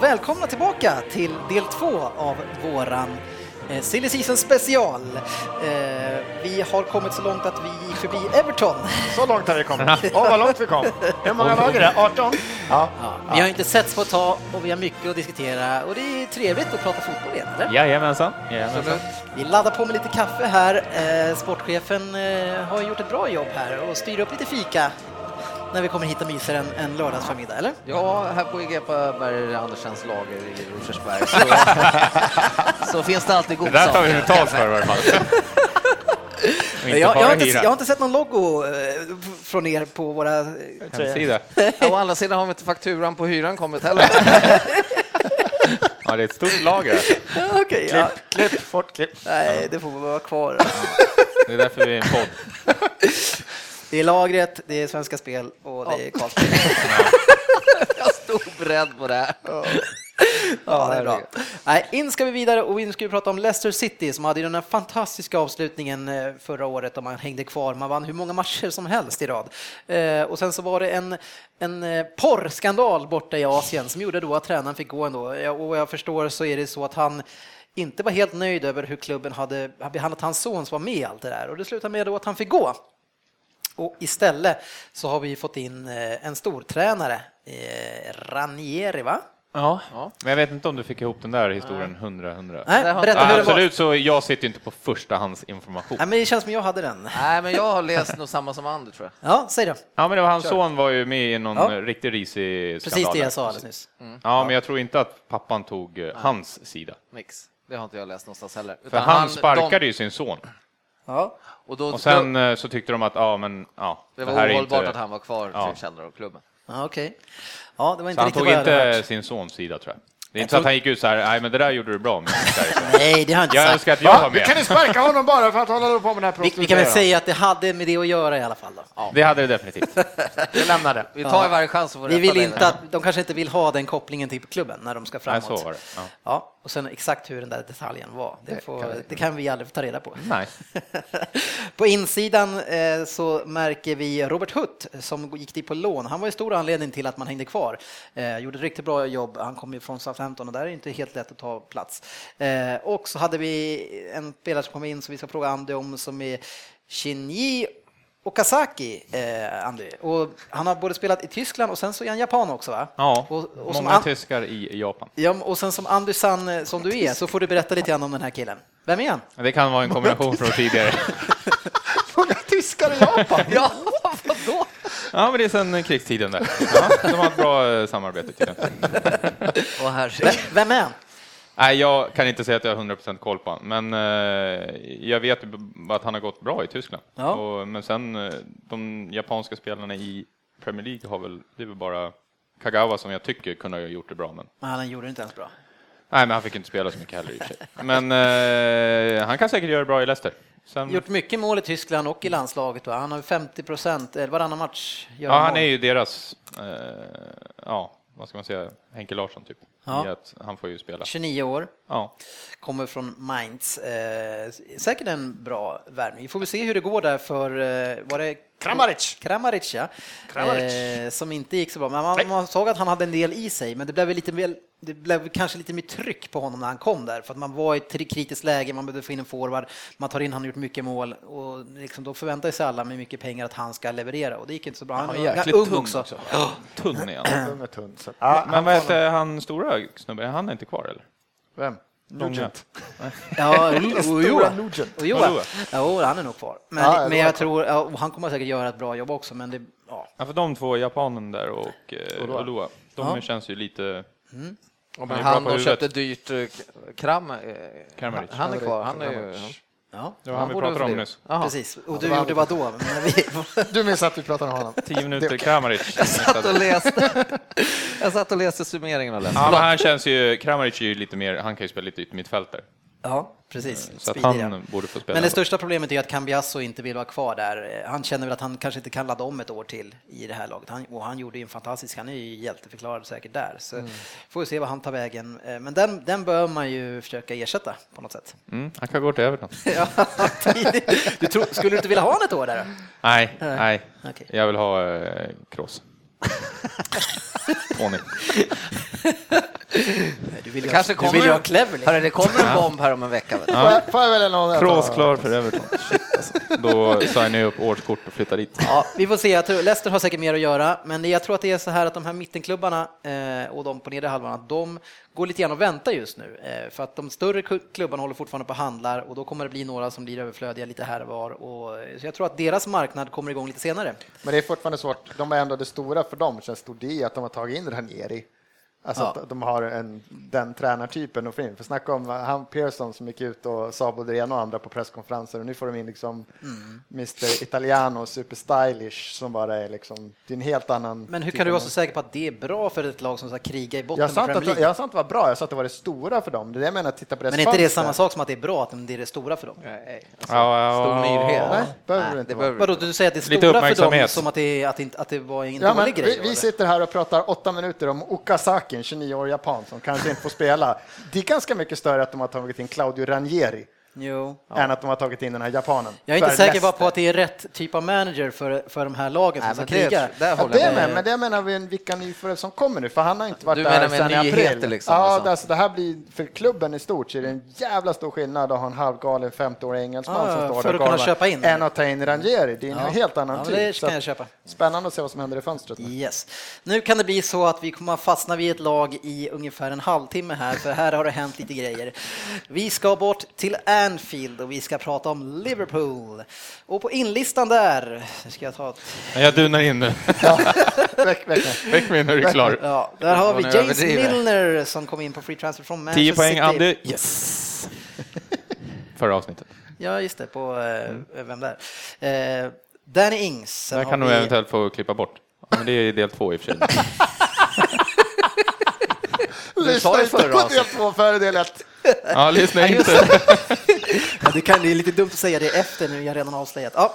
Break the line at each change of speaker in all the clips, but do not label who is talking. Välkomna tillbaka till del två av våran eh, Silly Season special. Eh, vi har kommit så långt att vi gick förbi Everton.
Så långt har vi kommit. Åh, vad långt vi kom. Hur många lag är det? 18? Ja.
Vi har inte setts på ett tag och vi har mycket att diskutera och det är trevligt att prata fotboll igen, eller?
Jajamensan. Jajamensan.
Vi laddar på med lite kaffe här. Eh, sportchefen eh, har gjort ett bra jobb här och styr upp lite fika när vi kommer hit och myser en, en lördagsförmiddag, eller?
Ja, här på IG Berg Andersens lager i Rosersberg så, så finns det alltid
Det
godsaker.
där tar vi betalt för i varje fall. Och inte
jag, jag,
bara
har inte, jag har
hyra.
inte sett någon logo eh, f- från er på våra...
Hemsida.
Ja, Å andra sidan har vi inte fakturan på hyran kommit heller.
Ja, det är ett stort lager. alltså.
Okej, ja.
Klipp, fort klipp.
Nej, det får vara kvar.
Det är därför vi är en podd.
Det är lagret, det är Svenska Spel och det är Karlsberg.
Jag stod beredd på det här.
Ja, det är bra. Nej, in ska vi vidare och in ska vi prata om Leicester City som hade ju den här fantastiska avslutningen eh, förra året och man hängde kvar. Man vann hur många matcher som helst i rad. Eh, Och sen så var det en, en eh, porrskandal borta i Asien som gjorde då att tränaren fick gå ändå. Ja, Och vad jag förstår så är det så att han inte var helt nöjd över hur klubben hade behandlat hans son som var med i allt det där och det slutade med då att han fick gå. Och istället så har vi fått in eh, en stortränare, eh, Ranieri va?
Ja. Men jag vet inte om du fick ihop den där historien hundra hundra.
Nej,
Där har-
berätta hur det var.
Absolut, så jag sitter ju inte på förstahandsinformation.
Nej, men det känns som jag hade den.
Nej, men jag har läst nog samma som Ander tror jag.
Ja, säg det.
Ja, men det var hans son var ju med i någon
Ja.
eh, riktigt risig skandal.
Precis det
där.
jag sa alldeles nyss.
Ja, men jag tror inte att pappan tog eh, hans sida.
Nix. Det har inte jag läst någonstans heller.
För
Utan
han
de-
sparkade ju sin son.
Ja.
Och, då,
Och sen eh, så tyckte de att, ja men, ja.
Alltså, det var
här är
ohållbart
inte-
att han var kvar
Ja.
som källare av klubben.
Ja, okej. Ja, det var
Så
inte
han
riktigt
tog
vad jag hade
inte
hört.
sin sons sida tror jag. Det är inte så att han gick ut så här, nej men det där gjorde du bra. men jag ska inte."
Nej, det har jag inte
Jag
sagt.
önskar att jag
Ja,
var
vi kan
med.
ju sparka honom bara för att han håller på med den
Vi,
här
vi kan väl
prostituerade.
säga att det hade med det att göra i alla fall. Då.
Det hade det definitivt.
Vi lämnar det.
Vi tar ju varje chans att
Vi
få rätta
vill
dig.
inte att, de kanske inte vill ha den kopplingen till klubben när de ska
Nej,
framåt.
så var det. Ja.
Ja, och sen exakt hur den där detaljen var, det, får,
kan
kan,
vi-
det kan vi aldrig få ta reda på.
Nej.
på insidan eh, så märker vi Robert Hutt som gick dit på lån. Han var ju stor anledning till att man hängde kvar. Eh, gjorde ett riktigt bra jobb. Han kom ju från Southampton och där är det inte helt lätt att ta plats. Eh, och så hade vi en spelare som kom in som vi ska fråga Andy om som är Shinji Okazaki, eh, Andy. Och han har både spelat i Tyskland och sen så är han japan också va?
Ja,
och, och som
många
An-
tyskar i Japan.
Ja, och sen som Andy San eh, som du är så får du berätta lite grann om den här killen. Vem är han?
Det kan vara en kombination från tidigare.
Många tyskar i Japan.
Ja, vadå?
Ja, men det är sedan krigstiden där. Ja, de har ett bra eh, samarbete tydligen.
Åh, herregud.
Vem, vem är han?
Nej, jag kan inte säga att jag har 100% koll på honom, men eh, jag vet ju b- att han har gått bra i Tyskland.
Ja.
Och, men sen, eh, de japanska spelarna i Premier League har väl, det är väl bara Kagawa som jag tycker kunde ha gjort det bra, men
Nej, han gjorde det inte ens bra.
Nej, men han fick inte spela så mycket heller i och för sig. Men eh, han kan säkert göra det bra i Leicester. Sen,
Gjort mycket mål i Tyskland och i landslaget. Va? Han har 50 procent, eller varannan match gör
ja, han
mål.
är ju deras, eh, ja, vad ska man säga, Henke Larsson typ.
Ja.
I att han får ju spela.
29 år,
Ja.
kommer från Mainz. Eh, säkert en bra värvning. Vi får väl se hur det går där för, eh, var det
Kramaric.
Kramaric, ja.
Kramaric.
Eh, som inte gick så bra. Men man,
Nej.
man såg att han hade en del i sig, men det blev, väl lite väl, det blev väl kanske lite mer tryck på honom när han kom där. För att man var i ett kritiskt läge, man behövde få in en forward, man tar in, han har gjort mycket mål och liksom, då förväntar sig alla med mycket pengar att han ska leverera och det gick inte så bra. Han
är
var
jäkligt
ganska ung
tung
också.
också. Tunn är han.
Ung och tunn. så- Ja,
Men vad heter han stora snubben, han är inte kvar eller?
Vem?
Långa.
Nugent.
Ja, och
Stora
Johan.
Nugent.
Och Johan.
Vadå?
Jo, han är nog kvar. Men,
Ja,
men
Johan
jag tror, ja, och han kommer säkert göra ett bra jobb också, men det, ja.
Ja, för de två, japanen där och eh,
Oloa.
Oloa, de
Ja.
känns ju lite...
Ja,
Han
men
är bra
han
på
de
huvudet.
köpte dyrt eh, k- Kram. eh,
Kramaric.
Han är kvar. Han är ju,
Kramaric.
Ja,
Det var han vi
borde
pratade
ha
om
det.
nyss.
Jaha.
precis. Och du gjorde vad då? Men vi,
Du minns att vi pratade om honom.
10 minuter Kramaric.
Satt och läste. Jag satt och läste summeringen av
Ja,
läsaren.
men han känns ju, Kramaric är ju lite mer, han kan ju spela lite yttermittfältare.
ja, precis.
Så att
Speedy, ja.
han borde få spela.
Men det största problemet är att Cambiasso inte vill vara kvar där. Han känner väl att han kanske inte kan ladda om ett år till i det här laget. Han, och han gjorde ju en fantastisk, han är ju hjälteförklarad säkert där. Så får vi se vad han tar vägen. Eh, Men den, den bör man ju försöka ersätta på något sätt.
mm, han kan gå till Everton.
Ja, du tror, skulle du inte vilja ha honom ett år där? då?
Nej,
Nej.
nej.
Okej.
Jag vill ha eh, Kroos. Tony.
Nej, Du vill ju ha-
Kanske
du vill
kommer,
ju ha Cleverly.
Hörru, det kommer en bomb här om en vecka. Vet du?
Får jag- Får jag välja någon?
Kroos klar för Everton. Shit, alltså. Då signar jag upp årskort och flyttar dit.
Ja, vi får se. Jag tror, Leicester har säkert mer att göra, men jag tror att det är så här att de här mittenklubbarna eh, och de på nedre halvan, att de går lite grann och väntar just nu. Eh, för att de större ku- klubbarna håller fortfarande på och handlar och då kommer det bli några som blir överflödiga lite här och var. Och, eh, så jag tror att deras marknad kommer igång lite senare.
Men det är fortfarande svårt. De är ändå det stora för dem, känns stort i att de har tagit in Ranieri. Alltså
Ja.
att de har en, den tränartypen och får in. För snacka om eh, han Pearson som gick ut och sa både det ena och andra på presskonferenser och nu får de in liksom
Mm.
Mr Italiano, super stylish som bara är liksom, det är en helt annan.
Men hur
typ
kan du
av-
vara så säker på att det är bra för ett lag som ska kriga i botten
Jag
på
sa, inte
Premier
att,
League?
jag sa inte att det var bra, jag sa att det var det stora för dem. Det är det jag menar, titta på deras
Men är inte det
fönster.
samma sak som att det är bra att det är det stora för dem?
Ja, ja,
Stor
ja.
nyhet.
Nej, behöver
Nej,
det inte
det behöver
Vadå, du säger att det är
Lite
stora för dem
uppmärksamhet.
som att det, att det, att det var en
Ja, men
dålig grej?
vi, vi
eller?
sitter här och pratar åtta minuter om Okazaki, en 29-årig japan som kanske inte får spela. Det är ganska mycket större att de har tagit in Claudio Ranieri
Jo.
än att de har tagit in den här japanen.
Jag är inte
För
säker bara
Leicester.
på att det är rätt typ av manager för, för de här lagen
Nej,
som
men
ska kriga.
det, där
Ja,
håller
det
jag med.
med, men det menar vi vilka nyförvärv som kommer nu, för han har inte varit
Du
där
menar med
sedan i
nyheter
april.
liksom,
ja,
alltså.
det- alltså, det här blir, för klubben i stort så är det en jävla stor skillnad att ha en halvgalen 50-årig engelsman
Ja,
som står
Ah, för
där
att kunna
galvar,
köpa in.
än att ta in Ranieri. Det är en
Ja.
helt annan
Ja, men
typ.
det
Så
kan jag
att-
köpa.
Spännande att se vad som händer i fönstret. nu.
Yes. Nu kan det bli så att vi kommer att fastna vid ett lag i ungefär en halvtimme här, för här har det hänt lite grejer. Vi ska bort till Anfield och vi ska prata om Liverpool. Och på inlistan där, nu ska jag ta ett
Nej, Jag dunar in nu.
Veck- veckan.
Väck mig när du är klar.
Ja, där har vi
nu
James
överdriver.
Milner som kom in på free transfer från
10
Manchester
poäng,
City.
Andy. Yes! Förra avsnittet.
Ja, just det, på eh, vem där? Eh, Danny Ings. Sen
Det
har
kan du
vi-
eventuellt få klippa bort. Ja, men det är del två i och för sig.
Du sa ju
Lyssna
förra
inte
alltså.
på del
avsnittet.
två före del ett.
Ja, lyssna
Ja, just
inte.
Ja, det, kan, det är lite dumt att säga det efter nu, jag redan har avslöjat. Ja.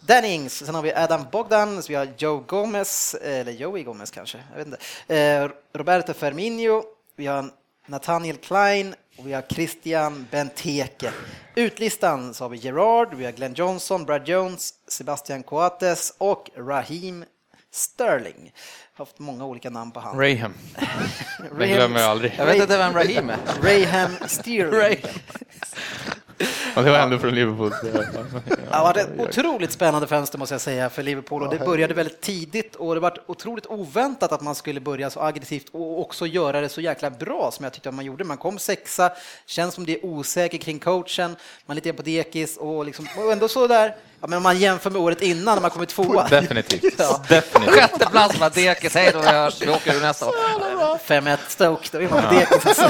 Dan Ings, sen har vi Adam Bogdan, så vi har Joe Gomez, eller Joey Gomez kanske, jag vet inte. Eh, Roberto Firmino, vi har Nathaniel Klein och vi har Christian Benteke. Utlistan så har vi Gerard, vi har Glenn Johnson, Brad Jones, Sebastian Coates och Raheem Sterling. Jag har haft många olika namn på hand.
Raham. Den glömmer jag aldrig.
Jag vet inte vem Raheem är.
Raham Sterling.
Ja, det var ändå från Liverpool.
Ja, det har varit ett otroligt spännande fönster måste jag säga för Liverpool och det började väldigt tidigt och det var otroligt oväntat att man skulle börja så aggressivt och också göra det så jäkla bra som jag tyckte att man gjorde. Man kom sexa, känns som det är osäker kring coachen, man är lite på dekis och, liksom, och ändå så där, ja, men om man jämför med året innan när man kommit tvåa.
Definitivt.
Ja.
Definitivt.
Sjätte plats med dekis, hej då, vi hörs, vi åker ur nästa år.
5-1 Stoke, då är man på dekis. alltså.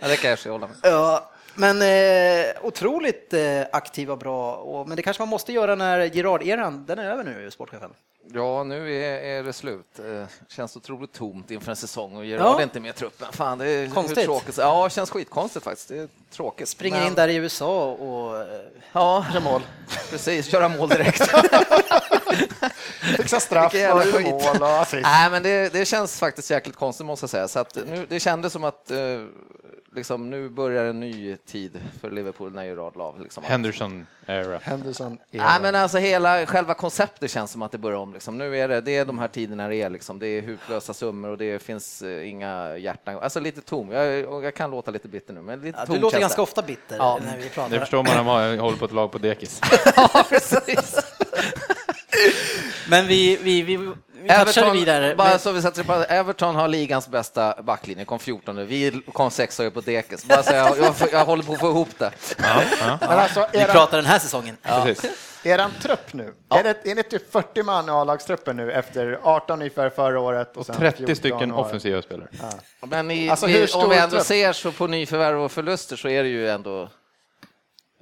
Ja, det kan jag hålla med
Ja, men eh, otroligt eh, aktiv och bra. Och, men det kanske man måste göra när Gerard-eran, den är över nu, sportchefen.
Ja, nu är, är det slut. Eh, Känns otroligt tomt inför en säsong och Gerard
Ja.
är inte med i truppen. Fan, det är hur
Konstigt.
tråkigt. Ja, känns skitkonstigt faktiskt. Det är tråkigt.
Springer
Men-
in där i USA och... eh,
Ja,
Mål.
precis. Köra mål direkt.
Fixa straff
Vilken jävla
och
skit.
mål och assist.
Nej, men det, det känns faktiskt jäkligt konstigt måste jag säga. Så att nu, det kändes som att eh, liksom, nu börjar en ny tid för Liverpool när Gerard la av. Liksom.
Henderson era.
Henderson.
Nej, men alltså hela själva konceptet känns som att det börjar om. Liksom. Nu är det, det är de här tiderna det är. Liksom. Det är hutlösa summor och det finns eh, inga hjärtan. Alltså lite tom. Jag, och jag kan låta lite bitter nu, men lite
Ja,
tom
du låter
känns
ganska
det.
ofta bitter
Ja.
när vi
Det
pratar.
förstår man när man håller på ett lag på dekis.
ja, precis.
Men vi, vi, vi, vi touchade
Everton,
vidare.
bara
Men,
så vi sätter det på, Everton har ligans bästa backlinje, kom 14 Vi kom sexa på dekis. Bara så jag, jag, jag håller på att få ihop det.
Men alltså,
vi
eran,
pratar den här säsongen.
Precis.
eran trupp nu, är, det, är det typ 40 man i A-lagstruppen nu efter 18 ungefär förra året? Och sen
30
14
stycken
och-
offensiva spelare.
Men i,
Alltså,
vi,
hur stor
om vi ändå
trupp?
ser så på nyförvärv och förluster så är det ju ändå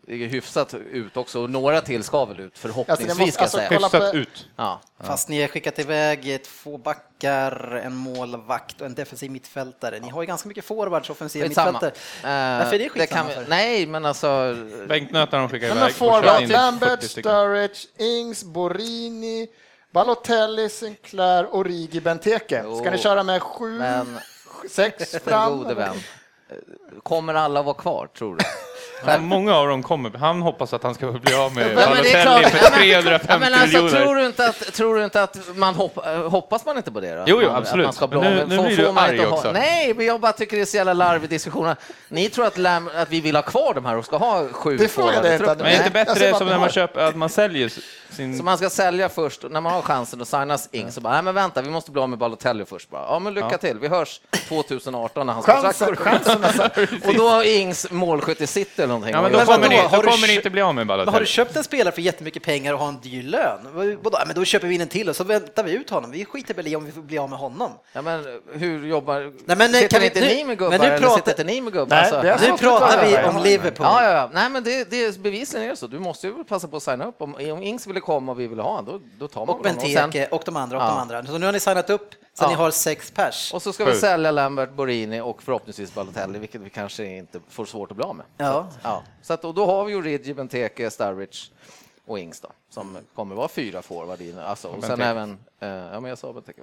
är hyfsat ut också och några till ska väl ut förhoppningsvis
Alltså, det måste-
ska jag
alltså,
säga.
kolla-
Hyfsat
på-
ut.
Ja.
Fast ni har skickat iväg två backar, en målvakt och en defensiv mittfältare. Ni har ju ganska mycket forwards, offensiva
Skitsamma.
mittfältare.
Eh,
Varför är det
det kan
skitsamma?
vi-
för?
Nej, men alltså...
Bänknötarna de skickar
Men
iväg.
man får
och kör
då
in 40
Lambert,
stycken.
Sturridge, Ings, Borini, Balotelli, Sinclair, Origi, Benteke. Ska
Jo.
ni köra med sju,
Men-
sex
Den
fram?
gode vän. Kommer alla vara kvar, tror du?
Ja, många av dem kommer. Han hoppas att han ska bli av med
Ja, men det är
Balotelli
klart.
för 350
Ja, men alltså, tror,
miljoner.
du inte att, tror du inte att man hopp, eh, hoppas man inte på det då?
Jo, jo,
Att man-
absolut.
Att man ska bli
Men
av
nu-
med-
nu
får-
blir du
får man inte
arg
ha-
också.
Nej, men jag bara tycker det är så jävla larvig diskussion. Ni tror att, Lam, att vi vill ha kvar de här och ska ha sju
Det frågade jag
forward i
inte.
truppen.
Men är det inte
Nej, alltså,
bättre
vad
som
vi
när
har.
man köper, att man säljer s- sin...
Så man ska sälja först, och när man har chansen att signa Ing så bara, nej men vänta, vi måste bli av med Balotelli först bara. Ja men lycka till, vi hörs 2018 när hans kontrakt
Chansen,
går ut.
chansen alltså.
Och då har Ings målskytt i sitt eller någonting.
Ja, men då kommer,
vadå?
ni,
Har
då
du
kommer ni
kö-
inte bli av med
Men har du
Balotelli.
köpt en spelare för jättemycket pengar och har en dyr lön? Vad- Vadå? Ja, Men då köper vi in en till och så väntar vi ut honom. Vi skiter väl i om vi får bli av med honom.
Ja, men hur jobbar...
Nej, men, eh,
sitter
kan vi-
inte
nu-
ni med gubbar
men nu
eller
pratar-
sitter inte ni med gubbar? Alltså,
Nej, det är
Nu
så
pratar vi om Liverpool.
Ja, ja, ja. Nej, men det, det är bevisligen är det så. Du måste ju passa på att signa upp. Om, om Ings ville komma och vi ville ha honom, då, då tar man
Och
väl honom. sen-
Benteke och de andra och de
Ja.
andra. Så nu har ni signat upp, så
Ja.
ni har sex pers.
Och så ska
Sju.
vi sälja Lambert, Borini och förhoppningsvis Balotelli, vilket vi kanske inte får svårt att bli av med.
Ja.
Så, att- ja. så att, och då har vi ju Ridge, Benteke, Sturridge och Ings då, som kommer vara fyra forward i, alltså, och sen
Benteke.
även, eh, ja men jag sa Benteke.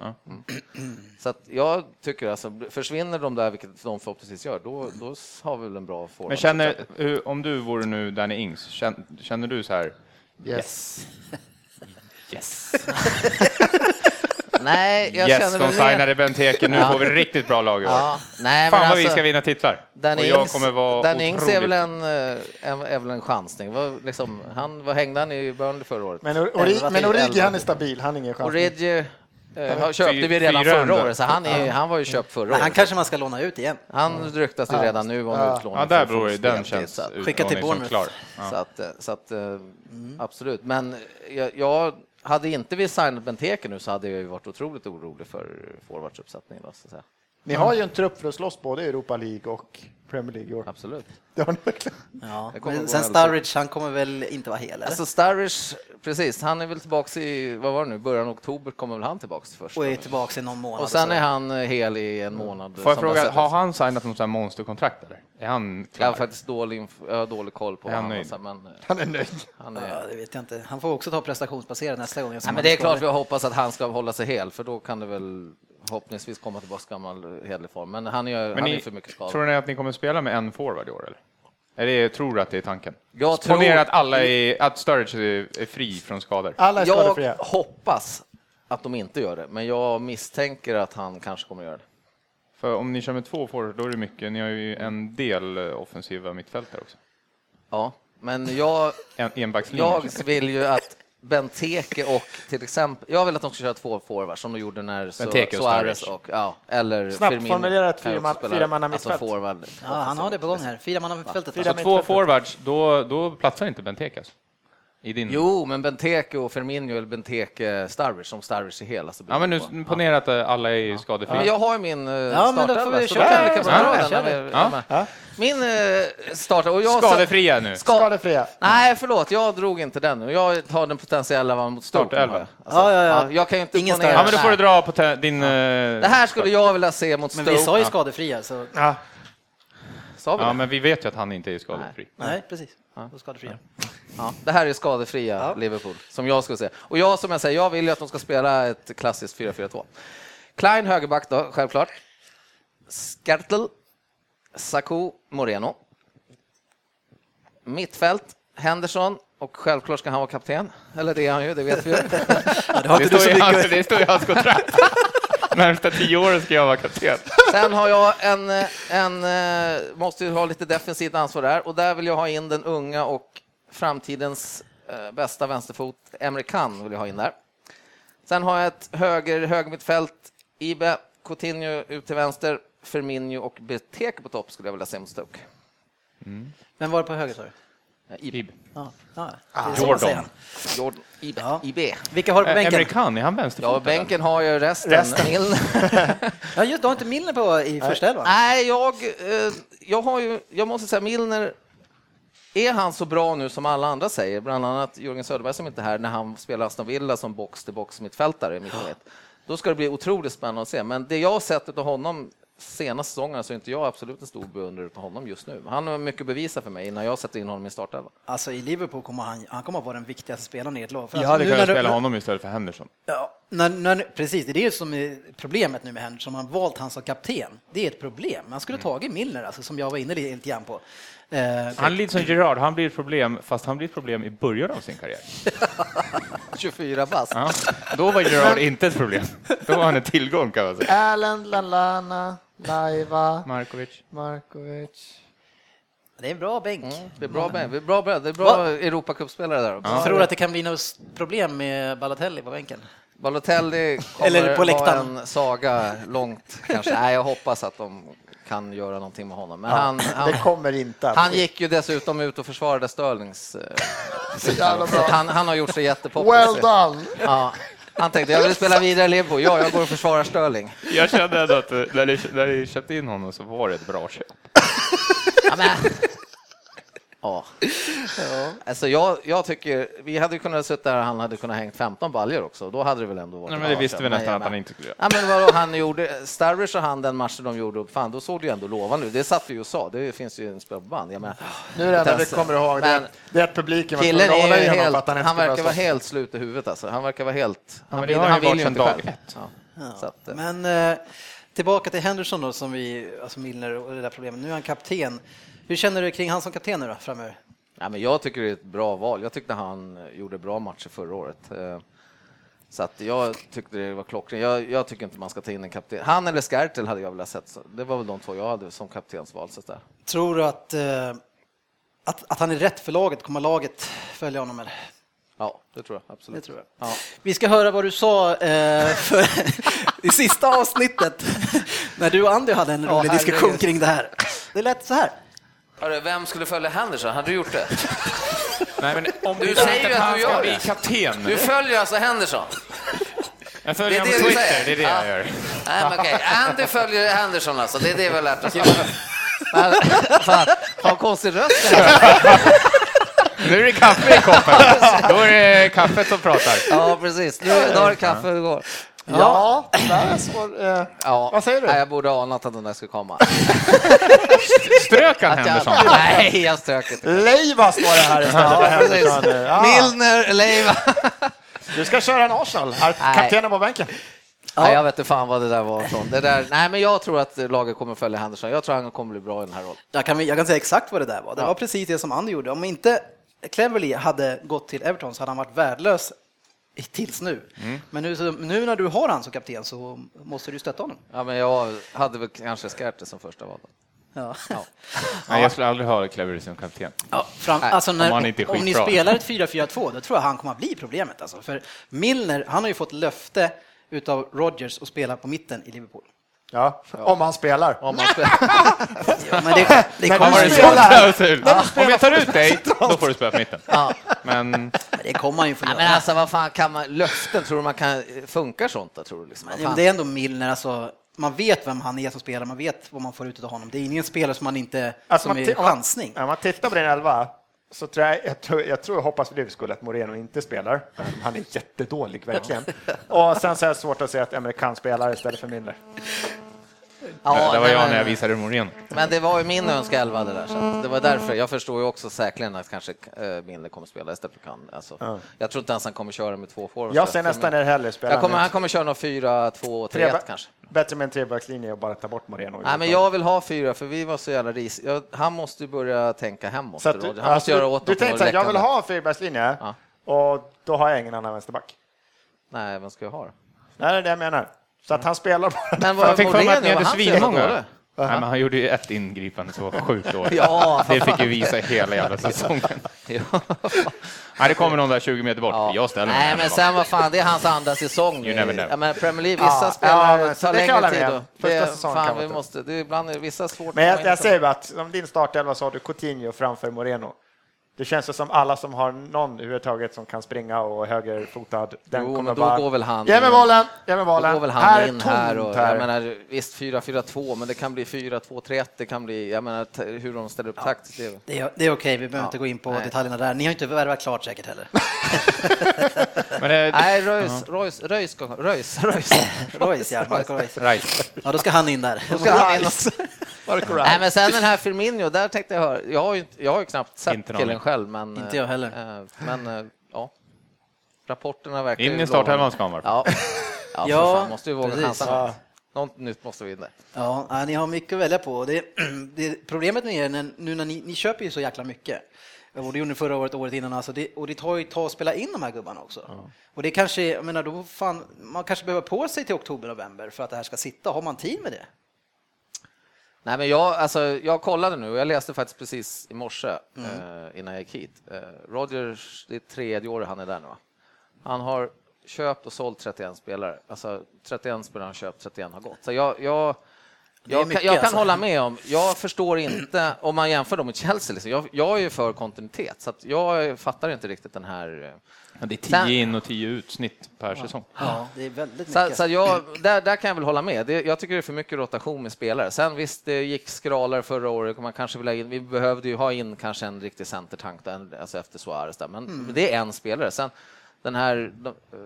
Mm. Så att jag tycker alltså, försvinner de där, vilket de förhoppningsvis gör, då, då har vi väl en bra forward.
Men känner, hur- om du vore nu Danny Ings, känner, känner du så här,
Yes.
yes,
Nej, jag
yes,
känner
de
väl mer-
signade Benteke, nu får vi riktigt bra lag i år.
Ja, nej,
Fan
men
vad
alltså,
vi ska vinna titlar.
Dan
och jag
Ings-
kommer vara
Dan Ings är väl
otroligt-
en, eh, en, är väl en chansning. Vad, liksom, han, vad hängde han i Burnley förra året?
Men, Or- Ori-
Elva
men
till
Origi,
elva.
han är stabil. Han är ingen chans.
Origi eh, har- köpte vi redan
Fyra
förra
hundra.
året, så han, är, han var ju köpt förra
Men han
året.
kanske man ska låna ut igen.
Han ryktas ju redan nu om utlåning.
Ja, där
för
beror det. Den
fullspel,
känns
så att-
Skicka till
utlåning som
Bournemouth.
klar.
Så att, eh, så att eh,
Mm.
absolut. Men jag, jag hade inte vi signat Benteke nu så hade jag ju varit otroligt orolig för forwardsuppsättningen. Då, så att säga.
Ni har ju en trupp för att slåss både i Europa League och Premier League i år.
Absolut.
Det har ni verkligen.
Ja.
Jag kommer
Men
gå
sen
och-
Sturridge, han kommer väl inte vara hel? Eller?
Alltså Sturridge, precis, han är väl tillbaka i, vad var det nu, början av oktober kommer väl han tillbaka först.
Och är tillbaka i Mm. någon månad.
Och sen
så.
är han eh, hel i en månad.
Får jag
som
fråga,
bäst.
har han signat något sånt här monsterkontrakt eller? Är han
Jag har
klar?
faktiskt dålig, inf- jag har dålig koll på
Är han
honom,
nöjd?
så här, men eh,
Han är nöjd.
han är...
Ja, det vet jag inte. Han får också ta prestationsbaserad nästa gång. eftersom
Nej, men
han
det är klart
skadad.
vi hoppas att han ska hålla sig hel, för då kan det väl förhoppningsvis komma tillbaka i gammal hederlig form. Men han är,
Men
han är
ni-
för mycket
Tror
skadad.
ni att ni kommer spela med en forward i år eller? Eller är- tror du att det är tanken?
Jag tror-
Ponera att alla är, att Sturridge är, är fri från skador.
Alla är
Jag
skadefria.
hoppas att de inte gör det, men jag misstänker att han kanske kommer göra det.
För om ni kör med två forward, då är det mycket. Ni har ju en del eh, offensiva mittfältare också.
Ja, men jag
En, enbackslinje.
Jag vill ju att Benteke och till exempel, jag vill att de ska köra två forwards som de gjorde när Su-
Benteke och
Suarez
Sturridge.
och, ja, eller
Snabbt
Firmino
formulerat
kan ju också
fyrman-
spela,
fyramanna
alltså
mittfält.
forward.
Ja, han har det på gång här. Fyra man har fältet.
Fyra
Så
Alltså.
man-
två forwards, då, då platsar inte Benteke alltså? I din...
Jo, men Benteke och Firmino eller Benteke Sturridge, som Sturridge är hel. Alltså,
Ja, men nu
beroende på.
ponera att eh, alla är skadefria.
Men jag har ju min ja,
Ja, men då
startelva,
får vi
så då
köra.
kan vi lika bra
Ja,
dra
ja,
den.
kör
när vi
vi.
är hemma. Min eh, startelva. och jag-
Skadefria nu.
Ska-
Skadefria.
Nej, förlåt, jag drog inte den nu. Jag tar den potentiella var mot Stoke.
Startelva.
har jag.
Ja, ja, ja.
Jag kan ju inte
Ingen
ponera-
Ja, men då får du
Nej.
dra på te- din... eh,
Det här skulle jag vilja se mot
Men
Stoke.
vi sa ju skadefria, så
Ja.
Sa vi
Ja,
det?
men vi vet ju att han inte är skadefri.
nej, precis. Då skadefria.
Ja, det här är skadefria Liverpool, som jag skulle säga. Och jag, som jag säger, jag vill ju att de ska spela ett klassiskt 4-4-2. Klein högerback då, självklart. Skertl, Saku, Moreno. Mittfält, Henderson, och självklart ska han vara kapten. Eller det är han ju, det vet vi ju.
Ja, det har
Det
inte du
står
så
i hans,
mycket.
det står i hans kontrakt. Närmsta tio åren ska jag vara kapten.
Sen har jag en, eh, en, eh, måste ju ha lite defensivt ansvar där, och där vill jag ha in den unga och framtidens eh, bästa vänsterfot, Emre Can vill jag ha in där. Sen har jag ett höger högermittfält, Ibe, Coutinho ut till vänster, Firmino och Benteke på topp skulle jag vilja se mot Stoke.
Men var det på höger sa du?
Eh, Ibe.
Ja, ja. Det är så man
Ah, Jordan.
säger.
Jordan, Ibe.
Ja.
Ibe.
Vilka har du på
Eh, Emre
bänken?
Can, är han vänsterfotad?
Ja, bänken har jag ju resten.
Resten.
Milner.
Ja, just, du har inte Milner på i första elvan?
Nej, jag, eh, jag har ju, jag måste säga Milner Är han så bra nu som alla andra säger, bland annat Jörgen Söderberg som inte är här, när han spelar Aston Villa som box-till-box-mittfältare i mittfält? Då ska det bli otroligt spännande att se. Men det jag har sett av honom senaste säsongen så är inte jag absolut en stor beundrare på honom just nu. Han har mycket att bevisa för mig innan jag sätter in honom i startelvan.
Alltså i Liverpool kommer han, han kommer att vara den viktigaste spelaren i ett lag. För
Jag
alltså,
hade
nu
kunnat
när du-
spela honom istället för Henderson.
Ja, när, när, precis, det är det som är problemet nu med Henderson. Man har valt han som kapten. Det är ett problem. Man skulle tagit Milner, alltså, som jag var inne lite lite grann på. Eh,
Han är lite som Gerard, han blir ett problem, fast han blir ett problem i början av sin karriär.
24 fast.
Ja. Då var Gerard inte ett problem. Då var han en tillgång kan man säga.
Erland, Lallana, Laiva,
Markovic.
Markovic.
det är en bra bänk.
Det är bra, Ben. det är bra, Ben. det är bra
Va?
Europacupspelare där.
Jag tror att det kan bli något problem med Balotelli på bänken.
Balotelli kommer
Eller på
vara
läktaren.
en saga långt kanske. Nej, jag hoppas att de kan göra någonting med honom. Men han, han,
Det kommer inte. att-
han gick ju dessutom ut och försvarade Sterlings. eh,
Så jävla
Så att
bra.
han, han har gjort sig jättepoppis.
Well done!
Ja. Han tänkte, jag vill spela vidare i Liverpool. Ja, jag går och försvarar Sterling.
Jag kände ändå att eh, när ni, när ni köpte in honom så var det ett bra köp.
Ja, men- Ja. Alltså jag, jag tycker, vi hade ju kunnat sitta där och han hade kunnat hängt 15 baljor också. Då hade det väl ändå varit
Nej,
ett
men det
bra
visste vi
köp.
nästan
Nej,
att han
men-
inte skulle göra.
Ja, men vadå, han gjorde, Starrish och han den matchen de gjorde upp, fan då såg det ju ändå lovande ut. Det satt vi ju och sa, det finns ju en spelband. Jag menar,
Nu är det enda vi
Tessa.
kommer ihåg det,
Men
är- det är att publiken var
killen
tvungen att
är
hålla
ju
i honom
helt,
för att
han,
han ens skulle
verkar vara
börja slåss.
helt slut i huvudet alltså. Han verkar vara helt,
men
han,
det
vill,
har han
han
ju varit
vill ju
sedan
inte
dag
själv.
ett.
Ja. Så att, eh,
Men eh, tillbaka till Henderson då, som vi, alltså Milner och det där problemet. Nu är han kapten. Hur känner du kring han som kapten nu då, framöver?
Ja, men jag tycker det är ett bra val. Jag tyckte han eh, gjorde bra matcher förra året. Eh, Så att jag tyckte det var klockrent. Jag, jag tycker inte man ska ta in en kapten. Han eller Skertel hade jag velat sett. Så Det var väl de två jag hade som kaptensval. Så där.
Tror du att, eh, att, att han är rätt för laget? Kommer laget följa honom? Eller?
Ja, det tror jag
Det
absolut.
tror jag.
Ja.
Vi ska höra vad du sa eh, för, i sista avsnittet när du och Andy hade en rolig
herregud.
diskussion kring det här. Det lät så här.
Hörru, vem skulle följa Henderson? Hade du gjort det?
Nej, men om
Du säger ju att du gör det.
kapten.
Du följer alltså Henderson?
Jag
Det
följer
är
honom
det
på
du
Twitter,
säger.
det är det jag gör.
Nej, men okej. Andy följer Henderson alltså. Det är det vi har lärt oss.
Men, fan, har konstig röst.
Nu är det kaffe i koppen. Då är det kaffet som pratar.
Ja, precis. Nu idag är det kaffe och går.
Ja, det där är svår, eh,
Ja.
Vad säger du?
Nej, jag borde ha anat att den där skulle komma.
Strök han Henderson?
Jag, nej, jag strök inte.
Leiva står det här istället för Henderson nu.
Ah.
Ja.
Milner, Leiva.
Du ska köra en Arsenal. Är Kaptenen på bänken.
Nej, jag vet inte fan vad det där var från. Det där, nej, men jag tror att laget kommer följa Henderson. Jag tror han kommer bli bra i den här rollen.
Jag kan, jag kan säga exakt vad det där var. Det var precis det som Andy gjorde. Om inte Cleverly hade gått till Everton så hade han varit värdelös i- tills nu.
Mm.
Men nu, så- nu när du har han som kapten så måste du stötta honom.
Ja, men jag hade väl kanske Skärte som första val. då.
Ja.
Nej, jag skulle aldrig ha Cleverly som kapten.
Ja, fram, alltså när,
om
om,
han inte är
ni
skitbra.
spelar ett 4-4-2, då tror jag han kommer att bli problemet. Alltså. För Milner, han har ju fått löfte utav Rodgers att spela på mitten i Liverpool.
Ja, om han spelar.
Om man spelar.
Ja, men det, det,
Men
kommer,
du
En sån
spelar.
klausul. Om jag tar ut dig, då får du spela på mitten. Men
det kommer han ju få
Nej,
göra.
men alltså vad fan kan man, löften, tror du man kan, funkar sånt då, tror du liksom? Vad
Jo, men
fan?
det är ändå Milner, alltså, man vet vem han är som spelare, man vet vad man får ut av honom. Det är ingen spelare som man inte,
Alltså,
som
man
är
ti- om man-
chansning.
Om man tittar på din elva så tror jag, jag, tror, jag tror, jag hoppas för din skull att Moreno inte spelar. Han är jättedålig verkligen. Och sen så är det svårt att se att Emre kan spela istället för Milner.
Ja,
eh, det var
nej,
jag
men-
när jag visade Moreno.
Men det var ju min önskeelva det där, så att det var därför. Jag förstår ju också säkerligen att kanske eh, Milner kommer spela istället för Kan. Alltså, Jag tror inte ens han kommer köra med två forwards.
Jag ser nästan er hellre spela
Jag kommer,
med-
Han kommer köra någon 4, 2, 3, 1 kanske.
Bättre med en trebackslinje och bara ta bort Moreno.
Nej, men jag vill ha fyra, för vi var så jävla ris. Jag, han måste ju börja tänka hemåt.
så att
Roger.
du,
han måste
alltså,
göra åt
du
något
tänkte
och
så här, jag
läcka
vill
med-
ha en fyrbackslinje
Ja.
och då har jag ingen annan vänsterback.
Nej, vem ska jag ha då?
Nej, det är det jag menar. Så att han spelar bara.
Mm. Men
Jag fick för mig att ni hade
Moreno, var han så jävla
svinmånga.
dålig?
Nej, men han gjorde ju ett ingripande som var sjukt dåligt.
Ja,
det fick ju visa hela jävla säsongen. Nej, det kommer någon där 20 meter bort. Jag ställer mig
Nej,
här.
men sen vad fan, det är hans andra säsong.
You never know.
Ja, men Premier League, vissa
Ja,
spelare
ja, men så
tar
det kan
längre
jag
tid.
hålla
då.
med.
Det är,
Första säsongen kan
fan,
vara
vi
det.
måste, det är ibland är det vissa svårt.
Men
att
jag,
komma in
jag
i.
säger bara att om din startelva så har du Coutinho framför Moreno. Det känns ju som alla som har någon överhuvudtaget som kan springa och är högerfotad, den
Jo,
kommer
men då
bara...
går väl han
Ge mig
in.
bollen! Ge mig
Då
bollen!
går väl han
här är
in
tomt
här. Och,
här.
Jag menar, visst, 4-4-2, men det kan bli 4-2-3-1. Det kan bli, jag menar, t- hur de ställer upp taktiskt. det är väl-
Det är, det är okej, vi behöver inte gå in på detaljerna där. Ni har inte värvat klart säkert heller.
Men, eh,
Nej, Röjs, Röjs, Röjs, kom- Röjs, Röjs.
Royce, ja. Marco Royce.
Right.
Ja, då ska han in där.
Då ska han in och-
Marco
Nej,
Ryan.
men sen den här Firmino, där tänkte jag, jag har ju, inte- jag har ju knappt sett
Inte någon
killen
aning.
själv. Men,
Inte jag heller.
eh, Men, eh, ja. Rapporterna verkar
In
ju
i startelvan
lovande.
ska han vara.
Ja, ja, för
Ja,
fan, måste ju våga
precis.
chansa. Något nytt måste vi in där.
Ja, ja, ni har mycket att välja på. Det, det, problemet med er, när, nu när ni, ni köper ju så jäkla mycket. Och det gjorde ni förra året och året innan. Alltså det, och det tar ju ett tag att spela in de här gubbarna också. Och det kanske, jag menar, då fan, man kanske behöver på sig till oktober, november för att det här ska sitta. Har man tid med det?
Nej, men jag, alltså, jag kollade nu och jag läste faktiskt precis i morse
Mm.
eh, innan jag gick hit. Eh, Rodgers, det är tredje året han är där nu. Va? Han har köpt och sålt 31 spelare. Alltså 31 spelare han köpt, 31 har gått. Så jag, jag,
är
jag,
mycket,
kan, jag kan
alltså.
hålla med om, jag förstår inte, om man jämför dem med Chelsea, liksom, jag, jag är ju för kontinuitet, så att jag fattar inte riktigt den här eh,
Ja, Det är
Sen-
10 in och 10 ut snitt per säsong.
Ja, det är väldigt
Så,
mycket.
så jag, där, där kan jag väl hålla med. Det, jag tycker det är för mycket rotation med spelare. Sen visst, det gick skralare förra året. och Man kanske vill ha in, vi behövde ju ha in kanske en riktig centertank där, alltså efter Suarez. Där. Men
Mm.
men det är en spelare. Sen, den här, de, eh,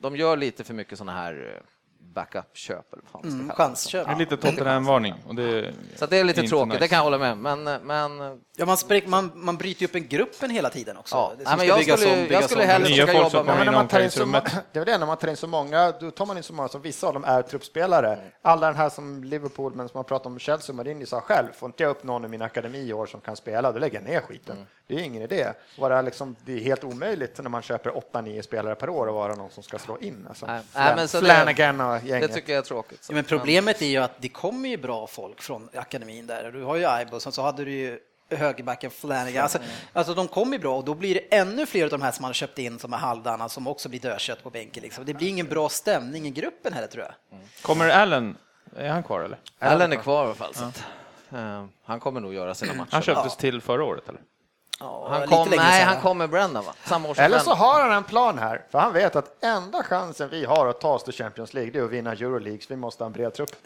de gör lite för mycket sådana här eh, backup-köp. Eller vad fan man ska
Mm,
kalla det.
chansköp.
Det är lite Tottenham-varning. och det-
Så det är lite
inte
tråkigt,
nice.
det kan jag hålla med om. Men, eh, men,
Ja, man, spräck, man, man bryter ju upp en gruppen hela tiden också.
Ja,
Det
nej,
som
men
ska
jag
byggas
skulle-
om,
jag
byggas
skulle
om.
hellre-
Nya
ska
folk
jobba
som
med-
kommer
Men när
in i
man tar in så många,
omklädningsrummet.
det är väl det, när man tar in så många, då tar man in så många som vissa av dem är truppspelare. Alla den här som Liverpool, men som man pratat om, Chelsea och Marini sa själv, får inte jag upp någon i min akademi i år som kan spela, då lägger jag ner skiten.
Mm.
Det är ingen idé. Vara liksom, det är helt omöjligt när man köper 8-9 spelare per år och vara någon som ska slå in. Alltså,
Nej,
Flan-
nej, men så det-
Flanagan och
det
gänget.
tycker jag är tråkigt. Så.
Ja, men problemet är ju att det kommer ju bra folk från akademin där. Du har ju Aibo, sen så hade du ju högerbacken Flanagan. Alltså, alltså de kommer ju bra och då blir det ännu fler av de här som man har köpt in som är halvdana som också blir dödkött på bänken. Liksom. Det blir ingen bra stämning i gruppen heller tror jag.
Kommer Allen, är han kvar eller?
Allen är kvar i alla fall. Så att, eh, han kommer nog göra sina matcher.
Han köptes till förra året eller?
Han
lite
kom,
längre
nej,
sedan,
han
va?
kom med Brennan va? Samma år som
Eller så
Brennan.
har han en plan här, för han vet att enda chansen vi har att ta oss till Champions League, det är att vinna Euroleague, så vi måste ha en bred trupp.